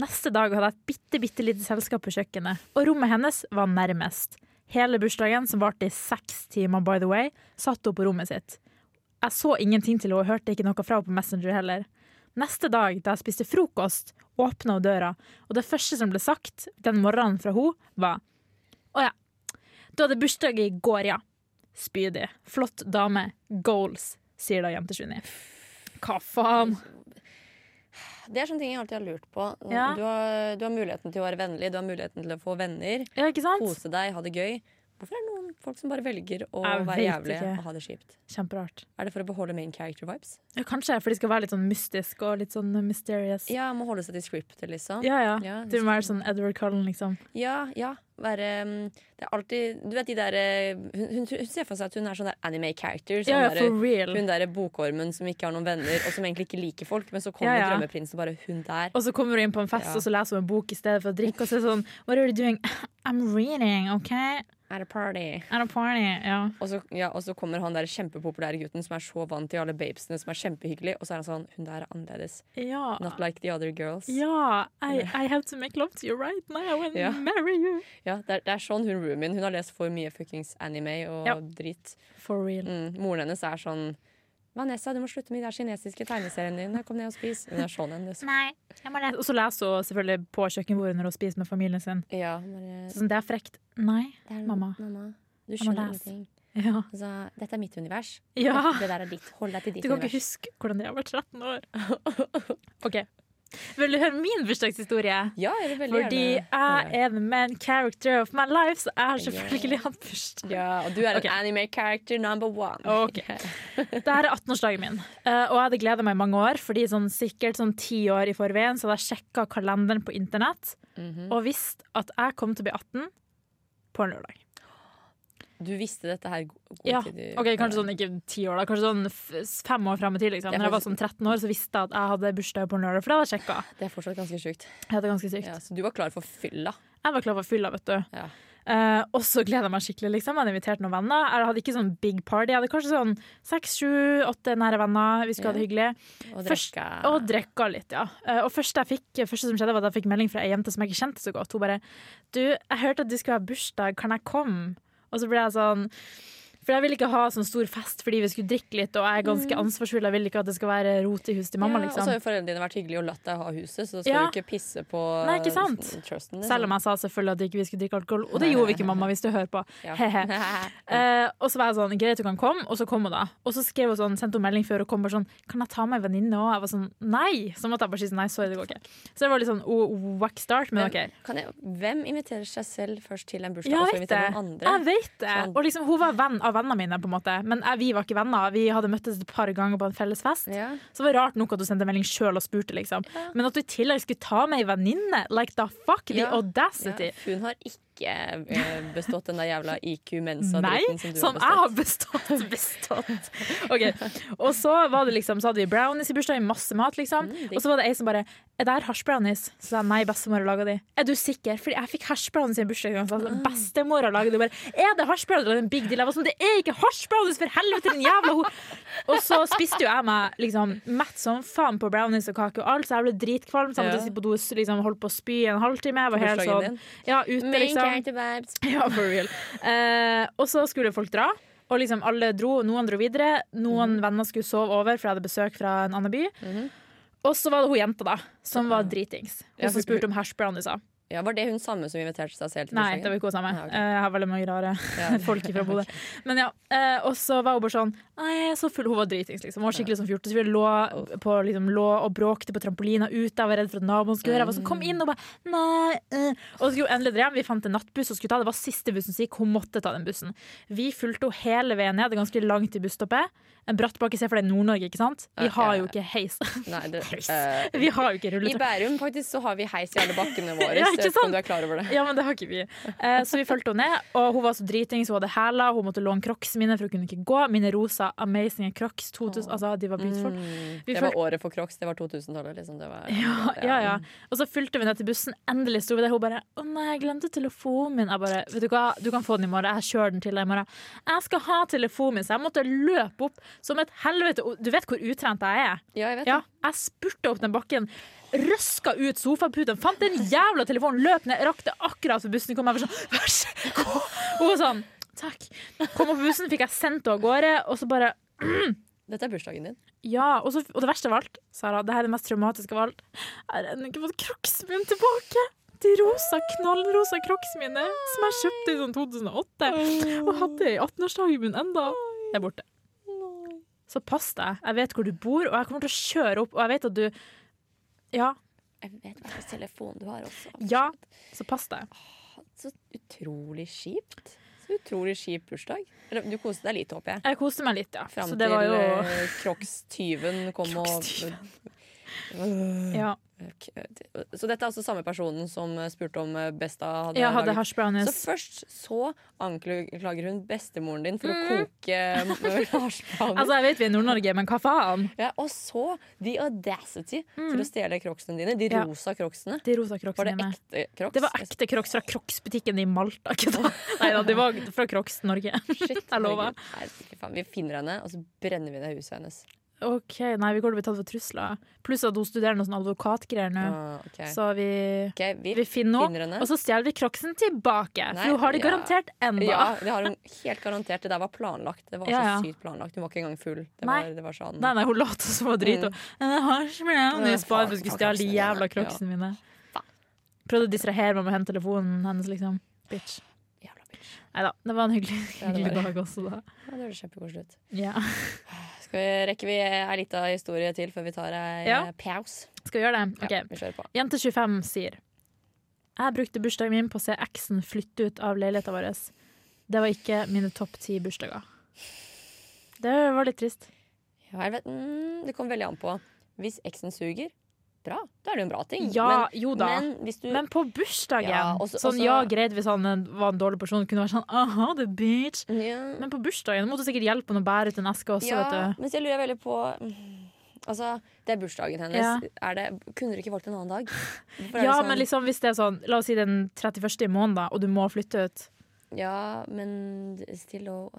Speaker 2: Neste dag hadde jeg et bitte, bitte lite selskap på kjøkkenet, og rommet hennes var nærmest. Hele bursdagen, som varte i seks timer, by the way, satt hun på rommet sitt. Jeg så ingenting til henne og hørte ikke noe fra henne på Messenger heller. Neste dag, da jeg spiste frokost, åpna hun døra, og det første som ble sagt den morgenen fra henne, var Å ja, du hadde bursdag i går, ja. spydig. Flott dame. Goals, sier da Jentesjuni. Hva faen?
Speaker 1: Det er sånne ting jeg alltid har lurt på.
Speaker 2: Ja.
Speaker 1: Du, har, du har muligheten til å være vennlig, du har muligheten til å få venner.
Speaker 2: Ja, ikke sant?
Speaker 1: Kose deg, ha det gøy. Hvorfor er det noen folk som bare velger å
Speaker 2: Jeg
Speaker 1: være
Speaker 2: vet
Speaker 1: jævlige
Speaker 2: ikke.
Speaker 1: og ha det kjipt?
Speaker 2: Kjemperart.
Speaker 1: Er det for å beholde main character vibes?
Speaker 2: Ja, kanskje, for de skal være litt sånn mystisk og litt sånn mysterious.
Speaker 1: Ja, må holde seg til scriptet, liksom.
Speaker 2: Ja, ja.
Speaker 1: Ja,
Speaker 2: Du må være sånn Edward Cullen, liksom.
Speaker 1: Ja, ja. Være um, Det er alltid Du vet de der eh, Hun, hun, hun ser for seg at hun er sånn der anime character. Sånn
Speaker 2: Ja, ja,
Speaker 1: der-
Speaker 2: for real.
Speaker 1: hun derre bokormen som ikke har noen venner, og som egentlig ikke liker folk, men så kommer
Speaker 2: Ja, ja.
Speaker 1: drømmeprinsen og bare Hun der.
Speaker 2: Og så kommer hun inn på en fest
Speaker 1: Ja.
Speaker 2: og så leser hun en bok i stedet for å drikke. Og så er det sånn What are you doing? I'm reading, OK?
Speaker 1: Er det party?
Speaker 2: At a party. Ja.
Speaker 1: Og så, ja, og så kommer han der kjempepopulære gutten som er så vant til alle babesene, som er kjempehyggelig, og så er han sånn Hun der er annerledes.
Speaker 2: Ja.
Speaker 1: Not like the other girls.
Speaker 2: Ah. Ja, I, I have to make love to you right now and
Speaker 1: Ja.
Speaker 2: marry you.
Speaker 1: Ja, det, er, det er sånn hun roomien Hun har lest for mye fuckings anime og
Speaker 2: Ja.
Speaker 1: drit.
Speaker 2: For real.
Speaker 1: Mm, moren hennes er sånn Vanessa, du må slutte med de der kinesiske tegneseriene dine. Kom ned og spis. Hun er sånn en. liksom.
Speaker 2: Nei, jeg må lese. Og så leser hun selvfølgelig på kjøkkenbordet når hun spiser med familien sin.
Speaker 1: Ja, bare,
Speaker 2: Så sånn, det er frekt. Nei.
Speaker 1: det er,
Speaker 2: mamma.
Speaker 1: Du
Speaker 2: må
Speaker 1: skjønner
Speaker 2: lese.
Speaker 1: ingenting.
Speaker 2: Ja.
Speaker 1: Altså, dette er mitt univers.
Speaker 2: ja.
Speaker 1: Det der er ditt. Hold deg til ditt
Speaker 2: Du kan ikke
Speaker 1: univers.
Speaker 2: huske hvordan det har vært 13 år. OK. Vil du høre min bursdagshistorie?
Speaker 1: Ja, jeg vil veldig
Speaker 2: Fordi
Speaker 1: gjerne.
Speaker 2: jeg er the main character of my life, så jeg har selvfølgelig hatt bursdag.
Speaker 1: Ja, og du er
Speaker 2: Ok.
Speaker 1: en anime character number one.
Speaker 2: Ok. Det her er 18-årsdagen min, eh, og jeg hadde gleda meg i mange år. Fordi sånn, Sikkert sånn ti år i forveien Så hadde jeg sjekka kalenderen på internett og visst at jeg kom til å bli 18 på en lørdag.
Speaker 1: Du visste dette her go- god
Speaker 2: Ja,
Speaker 1: tid. i-
Speaker 2: ok, Kanskje sånn ikke ti år, da kanskje sånn f fem år fram i tid. Liksom.
Speaker 1: Det er
Speaker 2: Når jeg var sånn
Speaker 1: faktisk-
Speaker 2: 13 år, så visste jeg at jeg hadde bursdag på en lørdag. For det hadde jeg sjekka.
Speaker 1: Det er fortsatt ganske sjukt.
Speaker 2: Det er ganske sykt.
Speaker 1: Ja, så du var klar for fylla.
Speaker 2: Jeg var klar for fylla, vet du.
Speaker 1: Ja.
Speaker 2: Eh, og så gleda jeg meg skikkelig. liksom. Jeg hadde invitert noen venner. Jeg hadde ikke sånn big party. Jeg hadde kanskje sånn seks, sju, åtte nære venner. Vi skulle ha det hyggelig.
Speaker 1: Og
Speaker 2: Først-
Speaker 1: drekka.
Speaker 2: Og drekka litt, ja. Eh, Og første, jeg fikk, første som skjedde, var at jeg fikk melding fra ei jente som jeg ikke kjente så godt. Hun bare 'Du, jeg hørte at du skulle ha bursdag, kan jeg komme?' Og så ble jeg sånn For jeg ville ikke ha sånn stor fest fordi vi skulle drikke litt, og jeg er ganske ansvarsfull. Jeg vil ikke at det skal være rot i huset til mamma,
Speaker 1: Mm. ja, Og så har
Speaker 2: liksom.
Speaker 1: jo foreldrene dine vært hyggelige og latt deg ha huset, så da skal
Speaker 2: Ja.
Speaker 1: du ikke pisse på
Speaker 2: Nei, ikke sant?
Speaker 1: eh, trusten. Liksom.
Speaker 2: Selv om jeg sa selvfølgelig at vi ikke skulle drikke alkohol, og det gjorde vi ikke, mamma, hvis du hører på.
Speaker 1: Ja.
Speaker 2: Hehe. Eh, og så var jeg sånn, greit du kan komme, og så kom hun da. Og så skrev hun sånn, sendte hun melding før hun kom, bare sånn, kan jeg ta med en venninne også? Jeg var sånn, nei! Så måtte jeg bare si sånn, nei, sorry, det går ikke. Så det var litt sånn, oh, whack start, men ok.
Speaker 1: liksom. Kan jeg, hvem inviterer seg selv først til en bursdag,
Speaker 2: Jeg
Speaker 1: og så
Speaker 2: vet det.
Speaker 1: inviterer noen andre?
Speaker 2: Jeg vet det.
Speaker 1: Sånn.
Speaker 2: Og liksom, hun var venn av vennene mine, på en måte. Men jeg, vi var ikke venner. Vi hadde møttes et par ganger på en felles fest.
Speaker 1: Ja.
Speaker 2: Så det var rart nok at hun sendte melding sjøl og spurte, liksom. Men at du i tillegg skulle ta med ei venninne, like the fuck, the
Speaker 1: Ja.
Speaker 2: audacity.
Speaker 1: Ja, Hun har ikke eh, bestått den der jævla
Speaker 2: Nei,
Speaker 1: IQ-mensa-dritten som du
Speaker 2: som jeg
Speaker 1: har
Speaker 2: har bestått. bestått. Ok, Og så var det liksom, så hadde vi brownies i bursdagen, masse mat, liksom.
Speaker 1: Mm,
Speaker 2: Og så var det ei som bare 'Er det her hasjbrownies?' Så sa jeg nei, bestemor har laga de. Er du sikker? Fordi jeg fikk hasjbrownies i en bursdag. en gang, Så jeg sa,
Speaker 1: Ah.
Speaker 2: bestemor har laga de. Og bare 'Er det hasjbrownies?' Og en big deal. Jeg var sånn 'Det er ikke hasjbrownies, for helvete, din jævla hor!' Og så spiste jo jeg meg liksom mett som faen på brownies og kake og alt, så jeg ble dritkvalm. Samtidig
Speaker 1: Ja.
Speaker 2: ja. sitte på do liksom, holdt på å spy i en halvtime. Jeg var helt
Speaker 1: bursdagen
Speaker 2: sånn
Speaker 1: din?
Speaker 2: Ja, ute, liksom.
Speaker 1: vibes.
Speaker 2: Ja, for real. Eh, og så skulle folk dra. Og liksom alle dro, Noen dro videre, noen venner skulle sove over, for jeg hadde besøk fra en annen by. Og så var det hun jenta da, som var dritings. Hun
Speaker 1: Ja,
Speaker 2: som
Speaker 1: hun-
Speaker 2: spurte om liksom. hash browniesa.
Speaker 1: Ja, Var det hun samme som inviterte seg selv til
Speaker 2: Nei, det var
Speaker 1: bursdagen?
Speaker 2: ikke hun samme.
Speaker 1: Ja, Ah, ok.
Speaker 2: Eh, Jeg har veldig mange rare
Speaker 1: Ja.
Speaker 2: folk fra Bodø. Men ja, eh, Og så var hun bare sånn Nei, jeg er så full. Hun var dritings, liksom. Hun var skikkelig som 14. Så vi lå, på, liksom, lå og bråkte på trampolina ute. Jeg var redd for at naboen skulle høre. Jeg var sånn, kom inn og bare Nei. eh. Og så skulle hun endelig dra hjem. Vi fant en nattbuss hun skulle ta. Det var siste bussen som gikk. Hun måtte ta den bussen. Vi fulgte henne hele veien ned. Det er ganske langt til busstoppet. En bratt bakke, se for deg Nord-Norge, ikke sant? Vi
Speaker 1: Ja,
Speaker 2: har
Speaker 1: ja,
Speaker 2: jo
Speaker 1: ja.
Speaker 2: ikke heis.
Speaker 1: Nei, det,
Speaker 2: Heis.
Speaker 1: eh,
Speaker 2: Vi har jo ikke
Speaker 1: I
Speaker 2: rulletrapp.
Speaker 1: Bærum faktisk så har vi heis i alle bakkene våre.
Speaker 2: Ja,
Speaker 1: ja,
Speaker 2: ikke
Speaker 1: ikke
Speaker 2: sant?
Speaker 1: Om du er klar over det.
Speaker 2: Ja, men det har ikke vi. Eh, så vi fulgte henne ned, og hun var så driting, så hun hadde hæler. Hun måtte låne crocs mine, for hun kunne ikke gå. Mine rosa amazing crocs. 2000, altså, de var beautiful. Vi
Speaker 1: Mm, Det var
Speaker 2: fulgte,
Speaker 1: året for Crocs. Det var 2000-tallet. Liksom. Det var-
Speaker 2: ja, ja. Og så fulgte vi ned til bussen. Endelig sto vi der. Hun bare 'Å nei, jeg glemte telefonen min'. Jeg bare 'Vet du hva, du kan få den i morgen. Jeg kjører den til deg i morgen'. Jeg skal ha telefonen min, så jeg måtte løpe opp som et helvete. Og Du vet hvor utrent jeg er?
Speaker 1: Ja, jeg vet
Speaker 2: Ja, jeg spurte opp den bakken, røska ut sofaputen, fant den jævla telefonen, løp ned, rakk det akkurat før bussen kom. Jeg var sånn, vær så god. Hun var sånn, takk. Kom opp på bussen, fikk jeg sendt henne av gårde, og så bare,
Speaker 1: det. Dette er bursdagen din.
Speaker 2: ja, og, så, og det verste av alt, Sara, det her er det mest traumatiske av alt, jeg har ennå ikke fått kroksen min tilbake. et rosa, knallrosa Crocs mine som jeg kjøpte i sånn 2008 og hadde i 18-årsdagen min enda. Det er borte. Så pass deg. Jeg vet hvor du bor, og jeg kommer til å kjøre opp, og jeg vet at du Ja,
Speaker 1: Jeg vet hva slags telefon du har også.
Speaker 2: ja, så pass deg.
Speaker 1: Så utrolig kjipt. Så utrolig kjip bursdag. Eller, du koste deg litt, håper jeg.
Speaker 2: Jeg koste meg litt, ja.
Speaker 1: Fram
Speaker 2: så det
Speaker 1: til
Speaker 2: var jo
Speaker 1: eh, Crocs-tyven kom
Speaker 2: Crocs-tyven.
Speaker 1: og
Speaker 2: Ja,
Speaker 1: Så dette er altså samme personen som spurte om eh, Besta hadde,
Speaker 2: jeg hadde
Speaker 1: laget- Så
Speaker 2: hasjbrownies.
Speaker 1: først så anklager hun bestemoren din for å koke eh, hasjbrownies.
Speaker 2: Mm. Altså, jeg vet vi er i Nord-Norge, men hva faen?
Speaker 1: ja, og så the audacity til å stjele crocsene dine. De
Speaker 2: Mm. Ja.
Speaker 1: rosa crocsene.
Speaker 2: De rosa
Speaker 1: Var
Speaker 2: Crocsene
Speaker 1: det
Speaker 2: mine.
Speaker 1: ekte crocs?
Speaker 2: Det var ekte Crocs fra Crocs-butikken i Malta. Ikke da? Nei da, de var fra Crocs Norge.
Speaker 1: Shit,
Speaker 2: Jeg lover.
Speaker 1: herregud. Nei, fy faen. Vi finner henne, og så brenner vi ned huset hennes.
Speaker 2: Ok, Nei, vi kommer til å bli tatt for trusler. Pluss at hun studerer noe sånn advokatgreier nå.
Speaker 1: Ah, ok.
Speaker 2: Så vi,
Speaker 1: Ok, vi,
Speaker 2: vi finner
Speaker 1: finner
Speaker 2: henne,
Speaker 1: henne.
Speaker 2: og så stjeler vi Crocsen tilbake.
Speaker 1: Nei,
Speaker 2: for hun har det
Speaker 1: ja.
Speaker 2: garantert ennå.
Speaker 1: Ja, det har hun helt garantert. Det der var planlagt. Det var
Speaker 2: Ja, ja.
Speaker 1: så sykt planlagt. Hun var ikke engang full. Det
Speaker 2: Nei.
Speaker 1: var, det var sånn
Speaker 2: Nei, nei, hun lot som hun var drit. Og, «Jeg har ikke med noen
Speaker 1: Ja,
Speaker 2: nye spar,
Speaker 1: Mm. faen,
Speaker 2: for jeg skulle
Speaker 1: faen,
Speaker 2: stjele de
Speaker 1: Crocsene
Speaker 2: jævla
Speaker 1: mine.
Speaker 2: Crocsene mine.
Speaker 1: Faen.
Speaker 2: Prøvde å distrahere meg med å hente telefonen hennes, liksom. Bitch.
Speaker 1: Jævla bitch.
Speaker 2: Nei da, det var en hyggelig,
Speaker 1: Ja, det
Speaker 2: hyggelig
Speaker 1: var det.
Speaker 2: dag også, da.
Speaker 1: Ja, det høres kjempekoselig ut.
Speaker 2: Ja.
Speaker 1: Skal vi, rekker vi ei lita historie til før vi tar ei
Speaker 2: Ja.
Speaker 1: eh, pause?
Speaker 2: Skal vi gjøre det? Ok.
Speaker 1: Ja, vi kjører på.
Speaker 2: Jente 25 sier Jeg brukte bursdagen min på å se eksen flytte ut av leiligheten vår. Det var ikke mine topp ti bursdager. Det var litt trist.
Speaker 1: Ja, helvete. Mm, det kommer veldig an på. Hvis eksen suger, bra. Da er det jo en bra ting.
Speaker 2: Ja,
Speaker 1: men,
Speaker 2: jo da.
Speaker 1: Men hvis du
Speaker 2: Men på bursdagen!
Speaker 1: Eh, Ja, også-
Speaker 2: sånn,
Speaker 1: også-
Speaker 2: ja, greit hvis han eh, var en dårlig person, kunne vært sånn aha, the bitch.
Speaker 1: ja,
Speaker 2: Men på bursdagen måtte du sikkert hjelpe han å bære ut en eske også,
Speaker 1: ja,
Speaker 2: vet du.
Speaker 1: men så jeg lurer veldig på mm, Altså, det er bursdagen hennes.
Speaker 2: Ja.
Speaker 1: Er det, kunne dere ikke valgt en annen dag? Hvorfor er det
Speaker 2: Ja,
Speaker 1: sånn-
Speaker 2: men liksom hvis det er sånn, la oss si den 31. i måneden, da, og du må flytte ut.
Speaker 1: Ja, men still og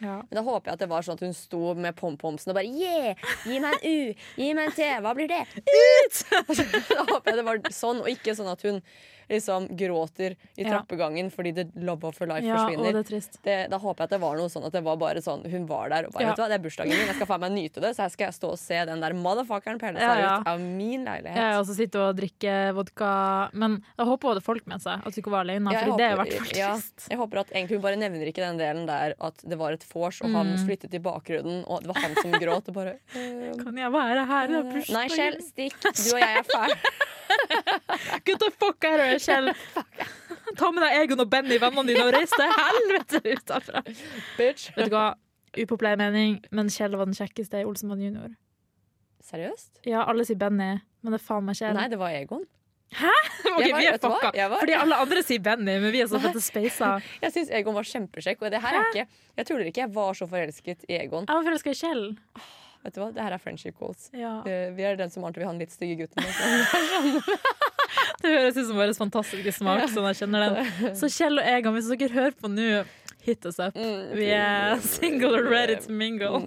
Speaker 2: Ja.
Speaker 1: Men da håper jeg at det var sånn at hun sto med pompomsen og bare Yeah! Gi meg en U! Gi meg en T! Hva blir det? Ut! Altså, da håper jeg det var sånn, og ikke sånn at hun liksom gråter i
Speaker 2: Ja.
Speaker 1: trappegangen fordi the love of her life
Speaker 2: Ja, og
Speaker 1: forsvinner.
Speaker 2: det er trist.
Speaker 1: Det, da håper jeg at det var noe sånn at det var bare sånn hun var der og bare
Speaker 2: Ja.
Speaker 1: Vet du hva, det er bursdagen min, jeg skal faen meg nyte det, så her skal jeg stå og se den der motherfuckeren pelle seg
Speaker 2: Ja, ja.
Speaker 1: ut av min leilighet.
Speaker 2: Ja, og så sitte og drikke vodka. Men jeg håper hun hadde folk med seg, at du ikke var
Speaker 1: Ja,
Speaker 2: alene.
Speaker 1: jeg
Speaker 2: fordi det er i
Speaker 1: håper-
Speaker 2: hvert fall
Speaker 1: ja,
Speaker 2: trist.
Speaker 1: jeg håper at egentlig Hun bare nevner ikke den delen der at det var et vors, og han
Speaker 2: Mm.
Speaker 1: flyttet i bakgrunnen, og det var han som gråt. Og bare, øh,
Speaker 2: Kan jeg være her? Det er bursdagen
Speaker 1: Eh, Nei, Kjell, stikk. Du og jeg er ferdig.
Speaker 2: min. Get the fuck out of here, Kjell! Ta med deg Egon og Benny, vennene dine, og reis til helvete ut herfra.
Speaker 1: Bitch.
Speaker 2: Vet du hva? Upopulær mening, men Kjell var den kjekkeste i Olsenmann junior.
Speaker 1: Seriøst?
Speaker 2: Ja, alle sier Benny, men det er faen meg Kjell.
Speaker 1: Nei, det var Egon.
Speaker 2: Ok,
Speaker 1: jeg var-
Speaker 2: vi er
Speaker 1: vet du hva?
Speaker 2: fucka,
Speaker 1: Jeg var-
Speaker 2: fordi alle andre sier Benny, men vi er så fette speisa.
Speaker 1: Jeg syns Egon var kjempesjekk. Og det her er ikke Jeg tuller ikke, jeg var så forelsket i Egon.
Speaker 2: Jeg var forelska i Kjell.
Speaker 1: Vet du hva, Det her er friendship goals.
Speaker 2: Ja.
Speaker 1: Det- Vi er den som alltid vil ha den litt stygge gutten.
Speaker 2: Det høres ut som vår fantastiske smak, sånn jeg kjenner den. Så Kjell og Egan, hvis dere hører på nå, hit us up.
Speaker 1: Mm.
Speaker 2: Vi er single and ready to mingle.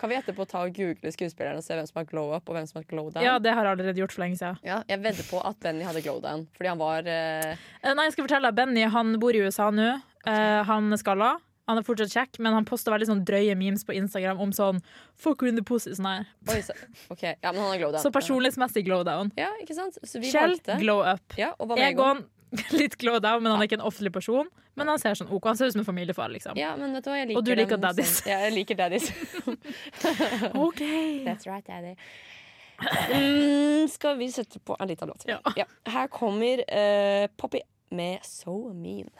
Speaker 1: Kan vi etterpå ta og google skuespilleren og se hvem som har glow up og hvem som har glow down?
Speaker 2: Ja, det har jeg allerede gjort for lenge siden.
Speaker 1: Ja, jeg vedder på at Benny hadde glow down, fordi han var eh,
Speaker 2: Eh, Nei, jeg skal fortelle deg, Benny han bor i USA nå. Eh, han er skalla. Han er fortsatt kjekk, men han poster veldig sånn drøye memes på Instagram om sånn fuck you in the pussy. Sånn her.
Speaker 1: Oi, så, ok, ja, men han har glow down.
Speaker 2: Så personlighetsmessig glow down.
Speaker 1: eh, Ja, ikke sant? Så vi
Speaker 2: Kjell,
Speaker 1: valgte.
Speaker 2: glow up.
Speaker 1: Ja, og hva med Egon?
Speaker 2: Egon, litt glow down, men han er ikke en offentlig person. Men han ser sånn OK, han ser ut som en familiefar, liksom.
Speaker 1: Ja, men vet du hva, jeg liker
Speaker 2: Og du
Speaker 1: dem
Speaker 2: liker
Speaker 1: som-
Speaker 2: daddies.
Speaker 1: Ja, jeg liker daddies.
Speaker 2: OK!
Speaker 1: That's right, daddy. Mm, skal vi sette på en liten låt?
Speaker 2: Ja.
Speaker 1: Her kommer eh, Poppy med So Mean.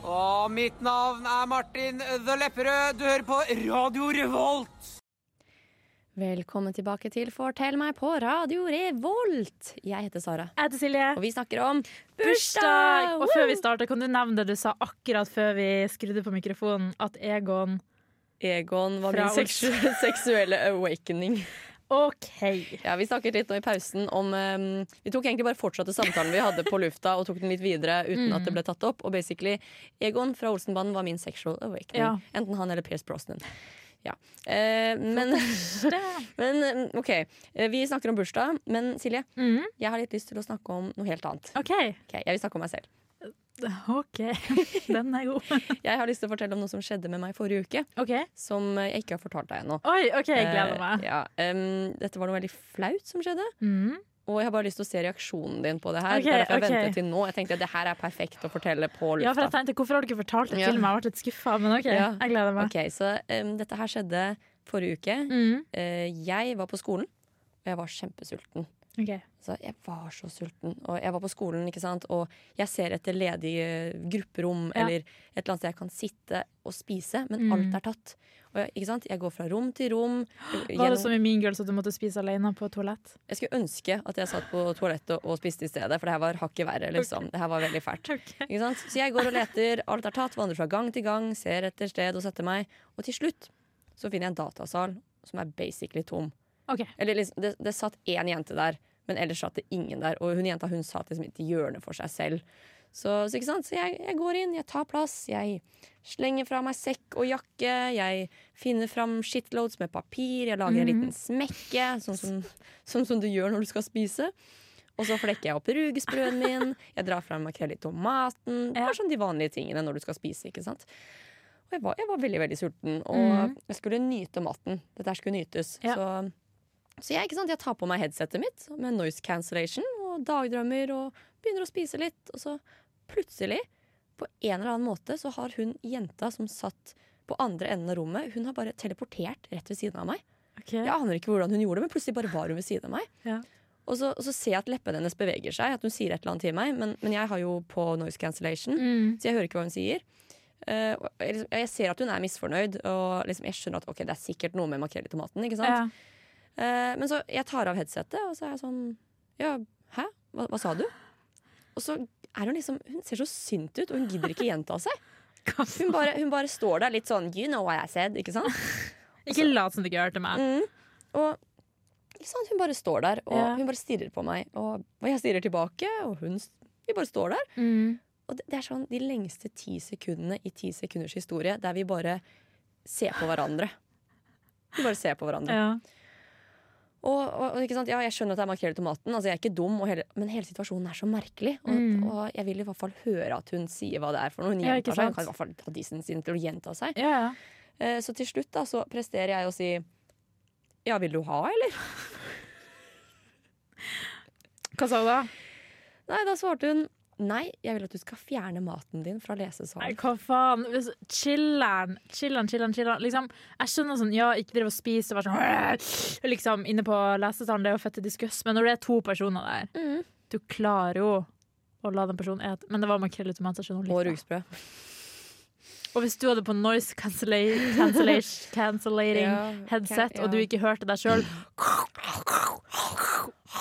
Speaker 5: Og mitt navn er Martin The Lepperød. Du hører på Radio Revolt.
Speaker 1: Velkommen tilbake til Fortell meg på Radio Revolt. Jeg heter Sara,
Speaker 2: Jeg heter Silje.
Speaker 1: og vi snakker om
Speaker 2: Bursdag! Og
Speaker 1: Woo!
Speaker 2: før vi starter, kan du nevne det du sa akkurat før vi skrudde på mikrofonen, at Egon
Speaker 1: Egon var
Speaker 2: Fra
Speaker 1: min seksu seksuelle awakening.
Speaker 2: OK.
Speaker 1: Ja, Vi snakket litt nå i pausen om eh, Vi tok egentlig bare fortsatte samtalen vi hadde på lufta, og tok den litt videre uten at det ble tatt opp. Og basically, Egon fra Olsenbanden var min sexual awakening.
Speaker 2: Ja.
Speaker 1: Enten han eller Pierce Brosnan. Ja. Eh, men, men eh, OK. Eh, Vi snakker om bursdag, men Silje,
Speaker 2: Mhm.
Speaker 1: jeg har litt lyst til å snakke om noe helt annet.
Speaker 2: OK.
Speaker 1: Ok, jeg vil snakke om meg selv.
Speaker 2: OK. Den er god.
Speaker 1: Jeg har lyst til å fortelle om noe som skjedde med meg forrige uke,
Speaker 2: OK.
Speaker 1: som eh, jeg ikke har fortalt deg ennå.
Speaker 2: Oi, OK, jeg gleder
Speaker 1: Eh,
Speaker 2: meg.
Speaker 1: ja, em, dette var noe veldig flaut som skjedde.
Speaker 2: Mm.
Speaker 1: Og jeg har bare lyst til å se reaksjonen din på det her.
Speaker 2: Ok,
Speaker 1: det er derfor jeg
Speaker 2: ok.
Speaker 1: ventet til nå. Jeg tenkte at det her er perfekt å fortelle på
Speaker 2: Ja, for
Speaker 1: lufta.
Speaker 2: jeg tenkte, Hvorfor har du ikke fortalt det
Speaker 1: Ja.
Speaker 2: til meg? Jeg ble litt skuffa, men OK.
Speaker 1: Ja.
Speaker 2: Jeg gleder meg.
Speaker 1: Ok, så em, dette her skjedde forrige uke.
Speaker 2: Mm.
Speaker 1: Eh, jeg var på skolen, og jeg var kjempesulten.
Speaker 2: Ok.
Speaker 1: Så jeg var så sulten. Og jeg var på skolen, ikke sant? og jeg ser etter ledige grupperom
Speaker 2: Ja. Mm.
Speaker 1: eller et eller annet sted jeg kan sitte og spise, men alt er tatt. Og jeg, ikke sant? jeg går fra rom til rom.
Speaker 2: Var
Speaker 1: Gjennom,
Speaker 2: det som i Mean Girls at du måtte spise alene på toalett?
Speaker 1: Jeg skulle ønske at jeg satt på toalettet og spiste i stedet, for det her var hakket verre. Liksom. Det her var veldig fælt. Ikke sant? Så jeg går og leter, alt er tatt, vandrer fra gang til gang, ser etter sted og setter meg. Og til slutt så finner jeg en datasal som er basically tom.
Speaker 2: Ok.
Speaker 1: Eller liksom, det, det satt én jente der, men ellers satt det ingen der. Og hun jenta hun satt liksom i et hjørne for seg selv. Så, så, ikke sant? så jeg, jeg går inn, jeg tar plass, jeg slenger fra meg sekk og jakke. Jeg finner fram shitloads med papir, jeg lager en
Speaker 2: Mhm.
Speaker 1: liten smekke, sånn som, sånn som du gjør når du skal spise. Og så flekker jeg opp rugesprøen min, jeg drar fram makrell i tomaten.
Speaker 2: Ja.
Speaker 1: Bare sånn de vanlige tingene når du skal spise. ikke sant? Og jeg var, jeg var veldig veldig sulten, og jeg skulle nyte maten. Dette her skulle nytes.
Speaker 2: Mhm. Ja.
Speaker 1: Så så jeg, ikke sant, jeg tar på meg headsetet mitt med noise cancellation og dagdrømmer og begynner å spise litt. Og så plutselig, på en eller annen måte, så har hun jenta som satt på andre enden av rommet, hun har bare teleportert rett ved siden av meg.
Speaker 2: Ok.
Speaker 1: Jeg aner ikke hvordan hun gjorde det, men plutselig bare var hun ved siden av meg.
Speaker 2: Ja.
Speaker 1: Og så, og så ser jeg at leppene hennes beveger seg, at hun sier et eller annet til meg, men, men jeg har jo på noise cancellation.
Speaker 2: Mm.
Speaker 1: Så jeg hører ikke hva hun sier. Eh, og jeg, liksom, jeg ser at hun er misfornøyd, og liksom, jeg skjønner at ok, det er sikkert noe med makrell i tomaten. ikke sant?
Speaker 2: Ja.
Speaker 1: Eh, men så jeg tar av headsetet, og så er jeg sånn Ja, hæ? Hva, hva sa du? Og så er hun liksom Hun ser så sint ut, og hun gidder ikke gjenta seg.
Speaker 2: Hva
Speaker 1: Hun
Speaker 2: faen?
Speaker 1: bare, hun bare står der litt sånn You know what I said, ikke sant?
Speaker 2: Ikke lat som du ikke hørte meg.
Speaker 1: Mm. Og ikke sant? hun bare står der, og
Speaker 2: Ja.
Speaker 1: hun bare stirrer på meg. Og, og jeg stirrer tilbake, og hun s- Vi bare står der.
Speaker 2: Mm.
Speaker 1: Og det, det er sånn de lengste ti sekundene i ti sekunders historie der vi bare ser på hverandre. Vi bare ser på hverandre.
Speaker 2: Ja.
Speaker 1: Og, og, og ikke sant? Ja, jeg skjønner at det er makrell i tomaten, altså jeg er ikke dum, og hele, men hele situasjonen er så merkelig. Og,
Speaker 2: Mm.
Speaker 1: og jeg vil i hvert fall høre at hun sier hva det er for noe. Hun
Speaker 2: Ja,
Speaker 1: gjentar
Speaker 2: ikke
Speaker 1: seg. Hun
Speaker 2: sant?
Speaker 1: kan i hvert fall ta disen sin til å gjenta seg.
Speaker 2: Ja, ja.
Speaker 1: Eh, så til slutt da, så presterer jeg å si ja, vil du ha, eller?
Speaker 2: Hva sa du da?
Speaker 1: Nei, da svarte hun nei, jeg vil at du skal fjerne maten din fra
Speaker 2: Nei,
Speaker 1: lesesalen.
Speaker 2: hva faen? Hvis- Chiller'n, chiller'n, chiller'n. chiller'n. Liksom, jeg skjønner sånn, ja, ikke drive og spise og være sånn liksom, inne på lesesalen, det er jo fette diskuss, men når det er to personer der,
Speaker 1: Mhm.
Speaker 2: du klarer jo å la den personen et, men det var makrell i tomat, så jeg skjønner hun
Speaker 1: Og
Speaker 2: likte det.
Speaker 1: rugsprø.
Speaker 2: Og hvis du hadde på noise cancella- cancella- cancellating
Speaker 1: Ja,
Speaker 2: headset,
Speaker 1: ca-
Speaker 2: og du
Speaker 1: ja.
Speaker 2: ikke hørte deg sjøl,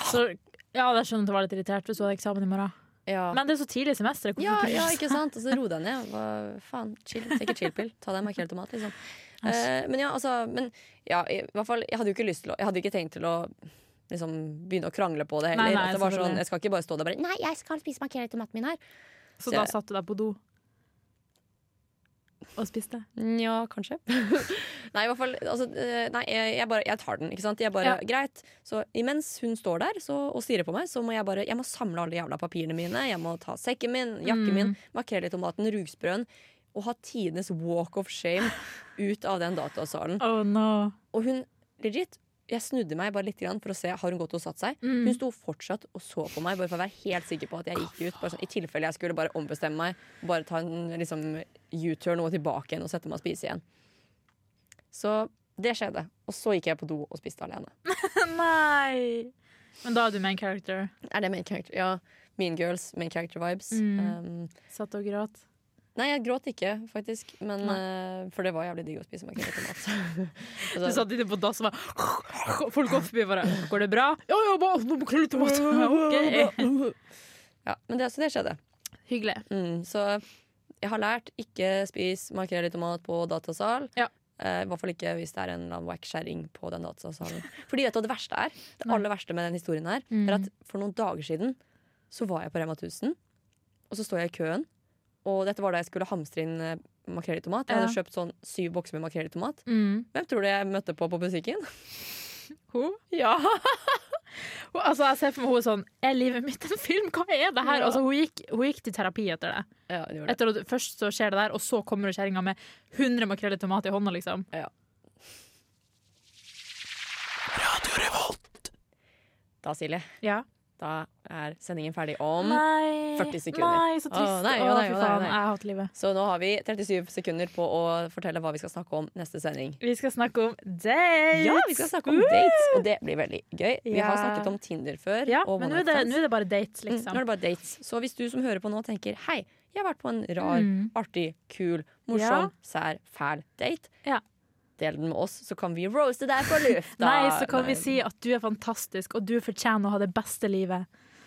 Speaker 2: så ja, jeg skjønner at du var litt irritert hvis du hadde eksamen i morgen.
Speaker 1: Ja.
Speaker 2: Men det er så tidlig i semesteret. hvorfor
Speaker 1: Ja,
Speaker 2: ikke-
Speaker 1: ja, ikke sant? Og så ro deg ned. Hva faen? Chill. Take a chill-pill. Ta deg en makrell i tomat, liksom. Eh, men ja, altså men, ja, i hvert fall, Jeg hadde jo ikke lyst til å Jeg hadde ikke tenkt til å liksom, begynne å krangle på det heller.
Speaker 2: Nei, nei,
Speaker 1: At det var
Speaker 2: selvfølgelig.
Speaker 1: sånn, jeg skal ikke bare stå der og bare Nei, jeg skal spise makrell i tomaten min her.
Speaker 2: Så da satt du deg på do og spiste?
Speaker 1: Nja, kanskje. nei, i hvert fall altså, eh, Nei, jeg, jeg bare Jeg tar den, ikke sant. Jeg bare, Greit. Så imens hun står der så, og stirrer på meg, så må jeg bare Jeg må samle alle de jævla papirene mine. Jeg må ta sekken min, jakken min, makrell i tomaten, rugsprøen. Og ha tidenes walk of shame ut av den datasalen.
Speaker 2: Oh no.
Speaker 1: Og hun legit jeg snudde meg bare litt grann for å se har hun gått og satt seg. Hun sto fortsatt og så på meg, bare for å være helt sikker på at jeg gikk ut. Bare sånn, I tilfelle jeg skulle bare ombestemme meg, bare ta en liksom, U-turn og tilbake igjen og sette meg og spise igjen. Så det skjedde. Og så gikk jeg på do og spiste alene.
Speaker 2: Nei! Men da er du main character.
Speaker 1: Er det main character? Ja. Mean Girls, main character vibes. Um,
Speaker 2: Satt og gråt.
Speaker 1: nei, jeg gråt ikke, faktisk. Men, eh, for det var jævlig digg å spise makrell i tomat.
Speaker 2: Du
Speaker 1: Altså,
Speaker 2: satt inne på dass og bare Folk går forbi bare Går det bra? Ja, ja, bare noe makrell i tomat. Ok.
Speaker 1: ja, men det, så det skjedde.
Speaker 2: Hyggelig.
Speaker 1: Mm, så jeg har lært ikke spis makrell i tomat på datasal.
Speaker 2: Ja.
Speaker 1: Eh, I hvert fall ikke hvis det er en eller annen whack-kjerring på den datasalen. Fordi vet du hva det verste er? Det aller verste med den historien her er
Speaker 2: Mm.
Speaker 1: at for noen dager siden så var jeg på Rema 1000, og så står jeg i køen. Og dette var da jeg skulle hamstre inn eh, makrell i tomat. Jeg hadde
Speaker 2: Ja.
Speaker 1: kjøpt sånn syv bokser med makrell i tomat.
Speaker 2: Mm.
Speaker 1: Hvem tror du jeg møtte på på butikken?
Speaker 2: Hun?
Speaker 1: Ja,
Speaker 2: Hun- Altså, jeg ser for meg hun er sånn Er livet mitt en film? Hva er det her? Altså, hun gikk, hun gikk til terapi etter det.
Speaker 1: det gjorde det.
Speaker 2: Etter at Først så skjer det der, og så kommer kjerringa med 100 makrell i tomat i hånda, liksom.
Speaker 1: Da, Silje,
Speaker 2: Ja.
Speaker 1: Da er sendingen ferdig om.
Speaker 2: Nei.
Speaker 1: 40 sekunder.
Speaker 2: Mm. Nei, så trist.
Speaker 1: Å, nei,
Speaker 2: Å,
Speaker 1: å, nei, å,
Speaker 2: fy
Speaker 1: nei,
Speaker 2: faen,
Speaker 1: nei.
Speaker 2: jeg har hatt livet.
Speaker 1: Så nå har vi 37 sekunder på å fortelle hva vi skal snakke om neste sending.
Speaker 2: Vi skal snakke om dates.
Speaker 1: Ja, vi skal snakke om dates, og det blir veldig gøy. Vi har
Speaker 2: Ja.
Speaker 1: snakket om Tinder før.
Speaker 2: Ja,
Speaker 1: og
Speaker 2: men
Speaker 1: One
Speaker 2: nå er,
Speaker 1: Night
Speaker 2: det,
Speaker 1: Stands.
Speaker 2: nå er det bare dates,
Speaker 1: Mm, nå
Speaker 2: liksom.
Speaker 1: er det bare dates. Så hvis du som hører på nå tenker hei, jeg har vært på en rar,
Speaker 2: Mm.
Speaker 1: artig, kul, morsom, sær, fæl date,
Speaker 2: Ja.
Speaker 1: del den med oss, så kan vi roaste deg på lufta.
Speaker 2: Nei, så kan
Speaker 1: Nei,
Speaker 2: vi si at du er fantastisk, og du fortjener å ha det beste livet.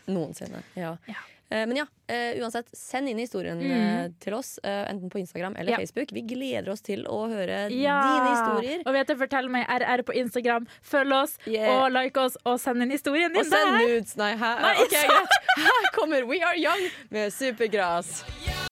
Speaker 1: Noensinne. Ja.
Speaker 2: Ja. Mm.
Speaker 1: Eh, Men ja, eh, uansett, send inn historien eh, til oss, eh, enten på Instagram eller
Speaker 2: Ja.
Speaker 1: Facebook. Vi gleder oss til å høre
Speaker 2: Ja!
Speaker 1: dine historier.
Speaker 2: Og vet du, fortell meg RR på Instagram. Følg oss,
Speaker 1: Yeah.
Speaker 2: og like oss, og send inn historien din
Speaker 1: Og send
Speaker 2: der.
Speaker 1: nudes! Nei, hæ?
Speaker 2: Nei,
Speaker 1: ok, greit. Her kommer We Are Young med Supergrass.